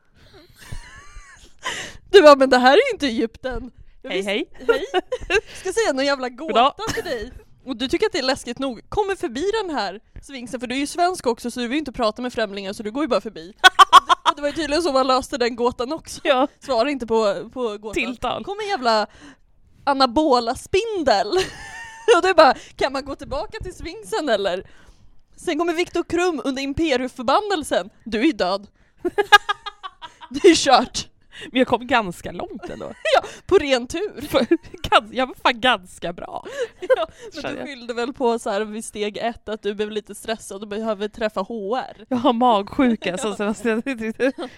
B: Du bara, men det här är ju inte Egypten! Jag
C: Hej
B: visste-
C: hej!
B: [LAUGHS] hej! Ska säga någon jävla gåta
C: Goddag.
B: till dig! Och du tycker att det är läskigt nog, kommer förbi den här svingsen för du är ju svensk också så du vill ju inte prata med främlingar så du går ju bara
C: [LAUGHS]
B: förbi. Och det, och det var ju tydligen så man löste den gåtan också,
C: Ja,
B: svara inte på, på gåtan.
C: tilltal.
B: kom en jävla anabola spindel. [LAUGHS] och det är bara, kan man gå tillbaka till svingsen eller? Sen kommer Viktor Krum under imperieförbannelsen. Du är död. [LAUGHS] det är kört.
C: Men jag kom ganska långt ändå. [LAUGHS]
B: På ren tur.
C: Gans- Jag var fan ganska bra.
B: Men
C: [LAUGHS] Känner
B: du
C: jag.
B: skyllde väl på så här vid steg ett att du blev lite stressad och behöver träffa
C: [LAUGHS]
B: HR.
C: Jag har magsjuka som Sebastian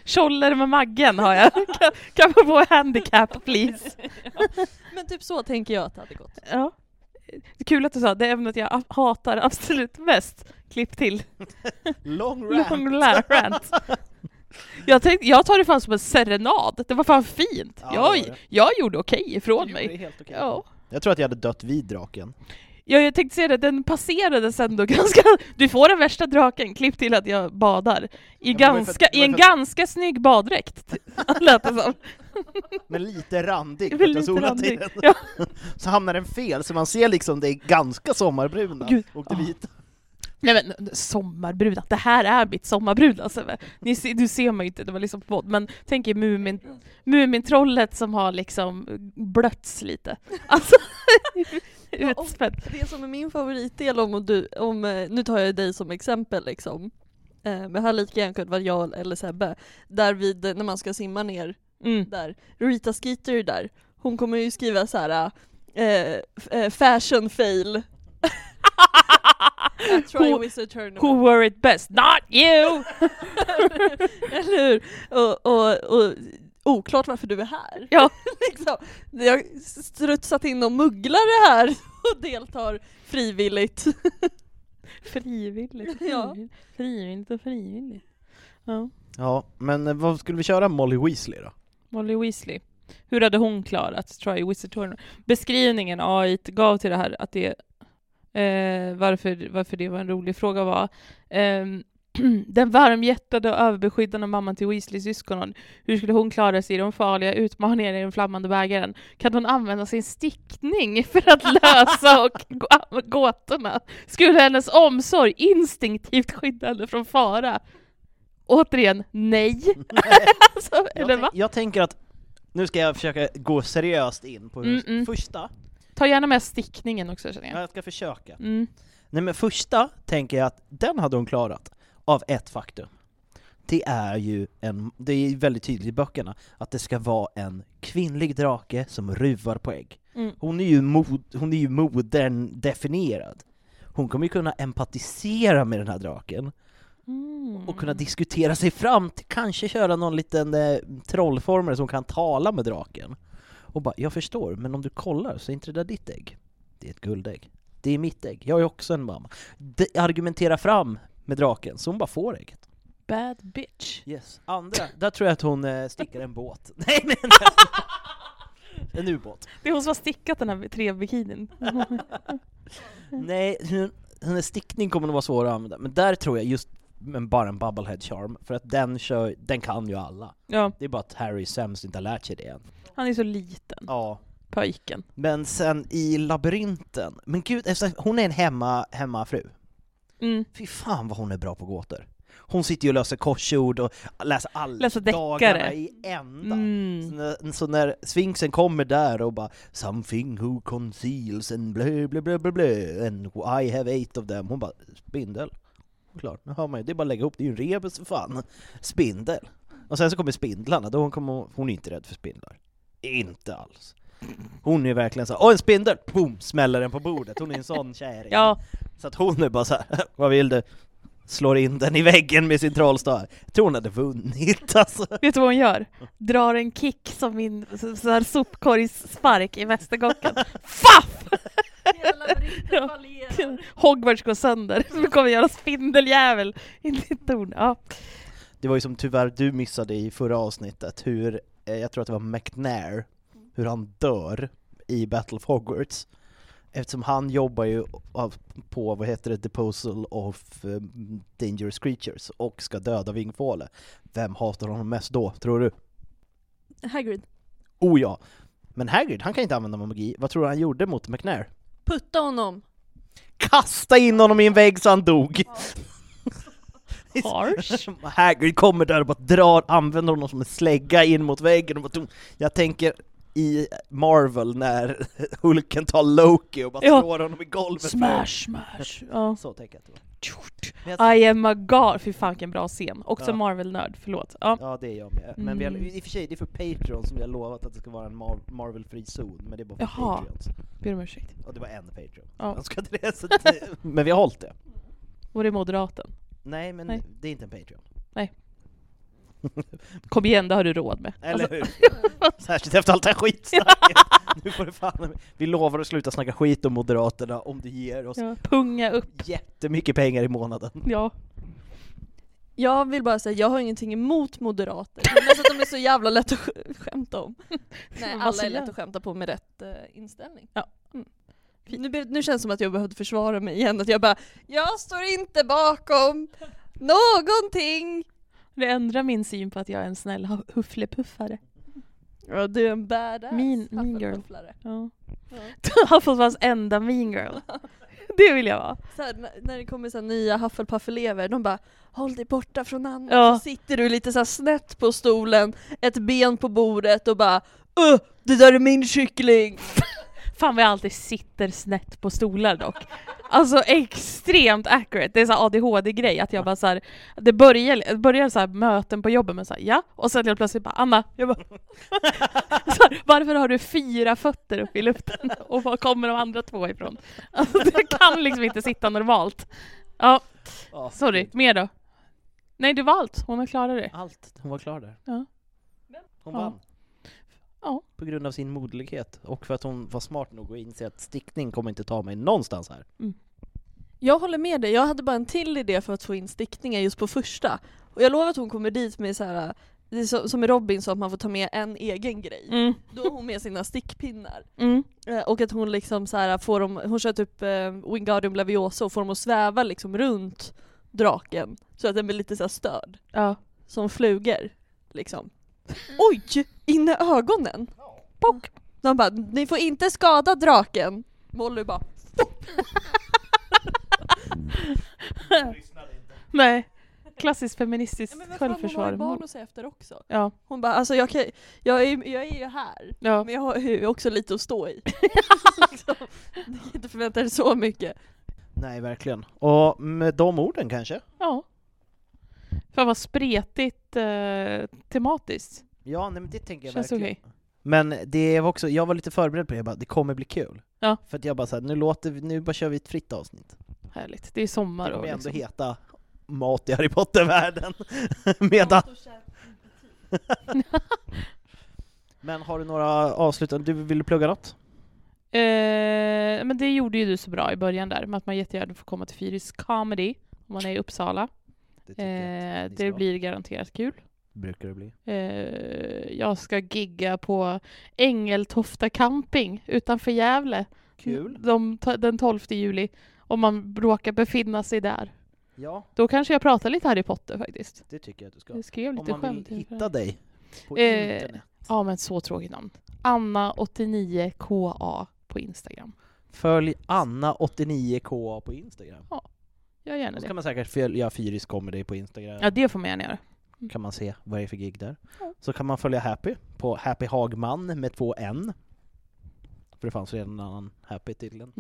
C: Tjoller med maggen
A: [LAUGHS]
C: har jag. Kan, kan man få handicap please?
B: Men typ så tänker jag att det hade gått.
C: Ja. Kul att du sa det ämnet jag a- hatar absolut mest. Klipp till.
A: Long rant!
C: Lång la- [LAUGHS]
A: [LAUGHS]
C: rant. Jag, tänkte, jag tar det fan som en serenad. Det var fan fint.
A: Ja, det var det.
C: Jag, jag gjorde okej ifrån
A: Jo, det är
C: mig.
A: helt okej.
C: Ja.
A: Jag tror att jag hade dött vid draken.
C: Ja, jag tänkte säga det, den passerades ändå [LAUGHS] ganska... Du får den värsta draken, klipp till att jag badar. I,
A: men det var ju för-
C: ganska,
A: det
C: i
A: var
C: en
A: ju för-
C: ganska snygg baddräkt, [LAUGHS]
A: [LAUGHS]
C: lät det som.
A: Men lite
C: [LAUGHS]
A: randig för att jag
C: Väldigt
A: solat i
C: randig.
A: den. [LAUGHS]
C: Ja.
A: Så hamnar den fel, så man ser liksom det är ganska sommarbruna
C: Gud.
A: och det vita.
C: Nej men sommarbrudar, det här är mitt sommarbrud alltså. Ni, ser- du ser mig inte, det var liksom på podd, men tänk er Mumin, [LAUGHS]
A: [LAUGHS]
C: Mumintrollet som har liksom blötts lite. Alltså, utspädd.
B: Det som är min favoritdel om, du, om eh, nu tar jag dig som exempel liksom, eh, men det här lika gärna kunnat vara jag eller Sebbe, där vid eh, när man ska simma ner
C: Mm. [LAUGHS]
B: där, Rita Skeeter där, hon kommer ju skriva så här eh, f- eh, fashion fail. At Try
C: Who-
B: Wizard Tournament.
C: Who were it best? Not you!
B: [LAUGHS] Eller hur? Och, och, och oklart varför du är här.
C: Ja.
B: [LAUGHS] liksom, jag har strutsat in och mugglare här [LAUGHS] och deltar frivilligt. [LAUGHS]
C: frivilligt.
B: Ja.
C: frivilligt och frivilligt. Ja.
A: Ja, men eh, vad skulle vi köra Molly Weasley då?
C: Molly Weasley. Hur hade hon klarat Try Wizard Tournament? Beskrivningen AI gav till det här, att det, eh, varför, varför det var en rolig fråga var ehm, [CLEARS THROAT] den varmhjärtade och överbeskyddande mamman till Weasleys syskonen. Hur skulle hon klara sig i de farliga utmaningarna i den flammande bägaren? Kan hon använda sin stickning för att lösa och gå- gåtorna? Skulle hennes omsorg instinktivt skydda henne från fara? Återigen, nej.
A: [LAUGHS]
C: alltså,
A: Jag,
C: eller
A: tänk-
C: va?
A: jag tänker att nu ska jag försöka gå seriöst in på hur-
C: Mm-mm.
A: första.
C: Ta gärna med stickningen också känner
A: Ja,
C: jag.
A: jag ska försöka.
C: Mm.
A: Nej men första tänker jag att den hade hon klarat, av ett faktum. Det är ju en, det är väldigt tydligt i böckerna, att det ska vara en kvinnlig drake som ruvar på ägg.
C: Mm.
A: Hon är ju, mod, hon är ju modern definierad. Hon kommer ju kunna empatisera med den här draken,
C: Mm.
A: och kunna diskutera sig fram till, kanske köra någon liten eh, trollformel som kan tala med draken. Och bara, jag förstår, men om du kollar så är inte det där ditt ägg. Det är ett guldägg. Det är mitt ägg. Jag är också en mamma. De, argumentera fram med draken, så hon bara får ägget.
C: Bad bitch.
A: Yes. Andra, där tror jag att hon eh, stickar en båt. [LAUGHS] Nej men! [LAUGHS] en ubåt.
C: Det är hon som har stickat den här trebikinin.
A: [LAUGHS] Nej, hon- hennes stickning kommer nog vara svår att använda, men där tror jag just men bara en bubblehead charm, för att den, kör, den kan ju alla.
C: ja,
A: Det är bara att Harry sämst inte har lärt sig det än.
C: han är så liten,
A: Ja.
C: pojken.
A: Men sen i labyrinten, men gud, eftersom hon är en hemma, hemmafru.
C: Mm.
A: Fy fan vad hon är bra på gåtor. Hon sitter ju och löser korsord och läser alla
C: Läser
A: dagarna
C: deckare.
A: i ända. Så,
C: Mm.
A: när, så när Sphinxen kommer där och bara Something who conceals and blö blö blö blö blö and I have eight of them. Hon bara spindel. Klart, nu hör man ju, det är bara att lägga ihop, det är ju en rebus för fan. Spindel. Och sen så kommer spindlarna, då hon, kommer, hon är inte rädd för spindlar. Inte alls. Hon är verkligen så här, åh en spindel! Boom! Smäller den på bordet, hon är en
C: [LAUGHS]
A: sån kärring.
C: Ja,
A: Så att hon är bara så här, [LAUGHS] vad vill du? Slår in den i väggen med sin trollstav. Jag tror hon hade vunnit [LAUGHS] alltså.
C: vet du vad hon gör? Drar en kick som min så- så här sopkorgsspark i Västergården.
A: [LAUGHS]
C: Faff! Ja. Hogwarts går sönder. Nu kommer jag göra spindeljävel in i ett torn. Ja.
A: Det var ju som tyvärr du missade i förra avsnittet hur, eh, jag tror att det var McNair, hur han dör i Battle of Hogwarts. Eftersom han jobbar ju av- på, vad heter det, Deposal of eh, Dangerous Creatures och ska döda Vingfåle. Vem hatar honom mest då, tror du?
B: Hagrid,
A: Oh ja! Men Hagrid, han kan inte använda magi. Vad tror du han gjorde mot McNair?
B: putta honom!
A: Kasta in honom i en vägg så han dog! [LAUGHS]
C: Harsh.
A: Hagrid kommer där och bara drar, använder honom som en slägga in mot väggen och bara tom. Jag tänker i Marvel när [LAUGHS] Hulken tar Loki och bara
C: Ja.
A: slår honom i golvet
C: Smash, smash. Ja.
A: Så tänker jag att det var.
C: I am a god. Fy fan vilken bra scen. Också
A: Ja.
C: Marvel-nörd, förlåt. Ja.
A: Ja det är jag med, men vi har,
C: Mm.
A: i och för sig det är för Patreon som vi har lovat att det ska vara en Mar- Marvel-fri zon, men det är bara för
C: Jaha.
A: Patreons.
C: Ber om ursäkt.
A: Och det var en Patreon.
C: Ja.
A: Jag ska till det, så att
C: [LAUGHS]
A: det, men vi har hållit det.
C: Var det moderaten?
A: Nej men
C: Nej.
A: det är inte en Patreon.
C: Kom igen, det har du råd med.
A: Eller
C: Alltså,
A: hur? [LAUGHS] Särskilt efter
C: [LAUGHS]
A: allt det här skitsnacket! nu får du fan, vi lovar att sluta snacka skit om Moderaterna om du ger oss
C: ja, punga upp.
A: jättemycket pengar i månaden.
C: Ja.
B: Jag vill bara säga, jag har ingenting emot moderater, men alltså att de är så jävla lätt att sk- skämta om. [LAUGHS] Nej,
C: Vad
B: alla är
C: säger
B: lätt
C: jag?
B: att skämta på med rätt eh, inställning.
C: Ja.
B: Mm. Nu, be- nu känns det som att jag behövde försvara mig igen, att jag bara Jag står inte bakom någonting!
C: Det ändrar min syn på att jag är en snäll hu- hufflepuffare.
B: Ja, du är en badass
C: Mean- mean girl.
B: huffelpufflare.
C: Ja. [LAUGHS]
B: Ja.
C: Hufflepuffs enda mean [LAUGHS] girl. Det vill jag vara.
B: Så här, när- när det kommer så här nya Hufflepuff-elever, de bara Håll dig borta från Anna,
C: Ja.
B: så sitter du lite så här snett på stolen, ett ben på bordet och bara Öh, det där är min kyckling!
C: Fan vad jag alltid sitter snett på stolar dock. Alltså extremt accurate. Det är så här ADHD-grej att jag bara så här, det börjar, börjar så här möten på jobbet med så här, ja, och sen helt plötsligt bara Anna, jag bara, [LAUGHS] så här, varför har du fyra fötter uppe i luften [LAUGHS] och var kommer de andra två ifrån? Alltså det kan liksom inte sitta normalt. Ja,
A: Ja,
C: sorry, mer då? Nej det var allt, hon har klarat det.
A: Allt. Hon var klar där.
C: Ja.
A: Hon
C: Ja.
A: vann.
C: Ja.
A: På grund av sin modlighet och för att hon var smart nog att inse att stickning kommer inte ta mig någonstans här.
B: Jag håller med dig, jag hade bara en till idé för att få in stickningar just på första. Och jag lovar att hon kommer dit med så här. Det är så, som i Robin sa, att man får ta med en egen grej.
C: Mm.
B: Då har hon med sina stickpinnar.
C: Mm.
B: Eh, Och att hon liksom så här får dem, hon kör typ eh, Wingardium Leviosa och får dem att sväva liksom runt draken. Så att den blir lite så här störd.
C: Ja.
B: Som flugor. Liksom. Oj! In i ögonen! Pock! De bara, ni får inte skada draken! Molly bara,
C: Nej. Klassiskt feministiskt
B: ja, men vad fan, hon har
C: självförsvar.
B: ju barn att se efter också.
C: Ja,
B: Hon bara, alltså jag, kan, jag, är, jag är ju här,
C: ja.
B: men jag har ju också lite att stå [LAUGHS] i. Så, Ni kan inte förvänta er så mycket.
A: Nej, verkligen. Och med de orden kanske?
C: ja. Fan vad spretigt eh, tematiskt.
A: Ja, nej men det tänker jag
C: Känns
A: verkligen.
C: okej.
A: Men det var också, jag var lite förberedd på det, jag bara, det kommer bli kul.
C: Ja.
A: För att jag bara såhär, nu låter vi, nu bara kör vi ett fritt avsnitt.
C: Härligt. Det är sommar
A: Det
C: och
A: kommer ändå
C: liksom.
A: heta Mat i Harry Potter-världen. [LAUGHS] Medan... [LAUGHS] Men har du några avslutande, du ville plugga något?
C: [LAUGHS] eh, Men det gjorde ju du så bra i början där, med att man jättegärna får komma till Fyris Comedy om man är i Uppsala.
A: Det, tycker jag
C: Eh,
A: att ni
C: det
A: ska.
C: blir garanterat kul.
A: Brukar det bli.
C: Eh, jag ska gigga på Ängeltofta camping utanför Gävle.
A: Kul.
C: De, den 12 juli. Om man råkar befinna sig där.
A: Ja,
C: Då kanske jag pratar lite Harry Potter faktiskt.
A: det tycker jag att du ska.
C: Jag skrev
A: Om
C: lite
A: man vill
C: skämt.
A: hitta dig på
C: Eh,
A: internet.
C: Ja men så tråkigt namn. Anna89KA på Instagram.
A: Följ Anna89KA på Instagram.
C: Gör gärna
A: Då
C: det.
A: kan man säkert följa Fyris Comedy på Instagram.
C: Ja det får man gärna göra.
A: kan man se vad det är för gig där. Så kan man följa Happy på Happy Hagman med två N. För det fanns redan en annan Happy till den.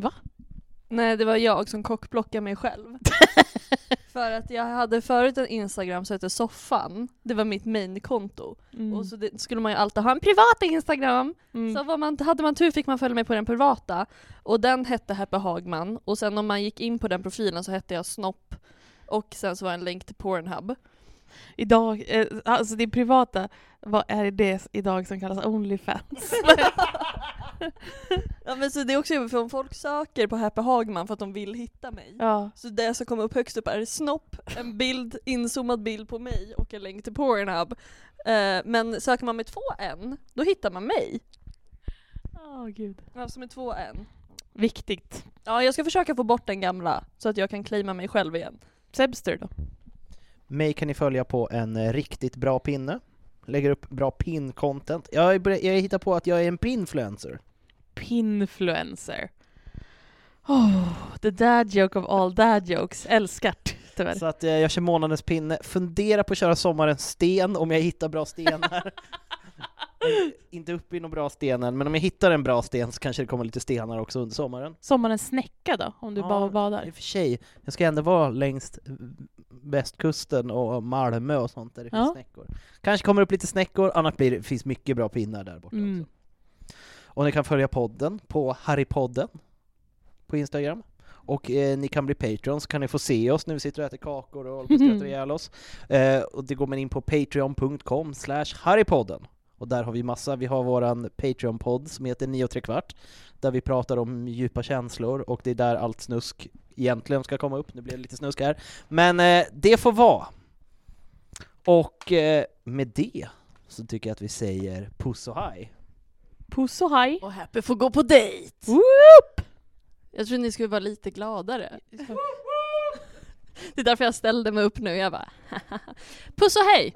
B: Nej, det var jag som kockblockade mig [LAUGHS] själv. För att jag hade förut en Instagram som hette Soffan, det var mitt mainkonto.
C: Mm.
B: Och så det, skulle man ju alltid ha en privat Instagram.
C: Mm.
B: Så var man, hade man tur fick man följa med på den privata. Och den hette Happy Hagman. Och sen om man gick in på den profilen så hette jag Snopp. Och sen så var det en länk till Pornhub.
C: Idag, eh, alltså det privata, vad är det idag som
B: [LAUGHS]
C: kallas Onlyfans?
B: Ja men så det är också jobbigt för om folk söker på Happy Hagman för att de vill hitta mig.
C: ja.
B: Så det som kommer upp högst upp är snopp, en bild, inzoomad bild på mig och en länk till Pornhub. Eh, men söker man med två N, då hittar man mig.
C: Åh gud.
B: Alltså med två N.
C: Viktigt.
B: Ja, jag ska försöka få bort den gamla så att jag kan claima mig själv igen.
C: Sebster då?
A: Mig kan ni följa på en eh, riktigt bra pinne. Lägger upp bra pin-content. Jag, är börj- jag hittar på att jag är en pinfluencer.
C: Pinfluencer. Oh, the dad joke of all dad jokes. Älskat, tyvärr.
A: Så att eh, jag kör månadens pinne. Fundera på att köra sommarens sten om jag hittar bra
C: [LAUGHS]
A: stenar. Eh, Inte uppe i någon bra sten än, men om jag hittar en bra sten så kanske det kommer lite stenar också under sommaren.
C: Sommarens snäcka då, om du
A: Ja,
C: bara
A: I
C: badar?
A: och för sig, jag ska ändå vara längs västkusten och Malmö och sånt där det finns
C: Ja.
A: snäckor. Kanske kommer upp lite snäckor, annars blir det, finns mycket bra pinnar där borta
C: Mm.
A: också. Och ni kan följa podden på Harrypodden på Instagram. Och eh, ni kan bli patrons, kan ni få se oss när vi sitter och äter kakor och håller på och skrattar ihjäl oss. Eh, och det går man in på patreon.com slash harrypodden. Och där har vi massa, vi har våran Patreon-podd som heter 9 och tre kvart där vi pratar om djupa känslor och det är där allt snusk egentligen ska komma upp, nu blir det lite snusk här. Men eh, det får vara. Och eh, med det så tycker jag att vi säger puss och hej.
C: Puss och haj!
B: Och Happy får gå på dejt!
C: Woop!
B: Jag tror ni skulle vara lite gladare. Det är därför jag ställde mig upp nu, jag bara [LAUGHS] Puss och hej!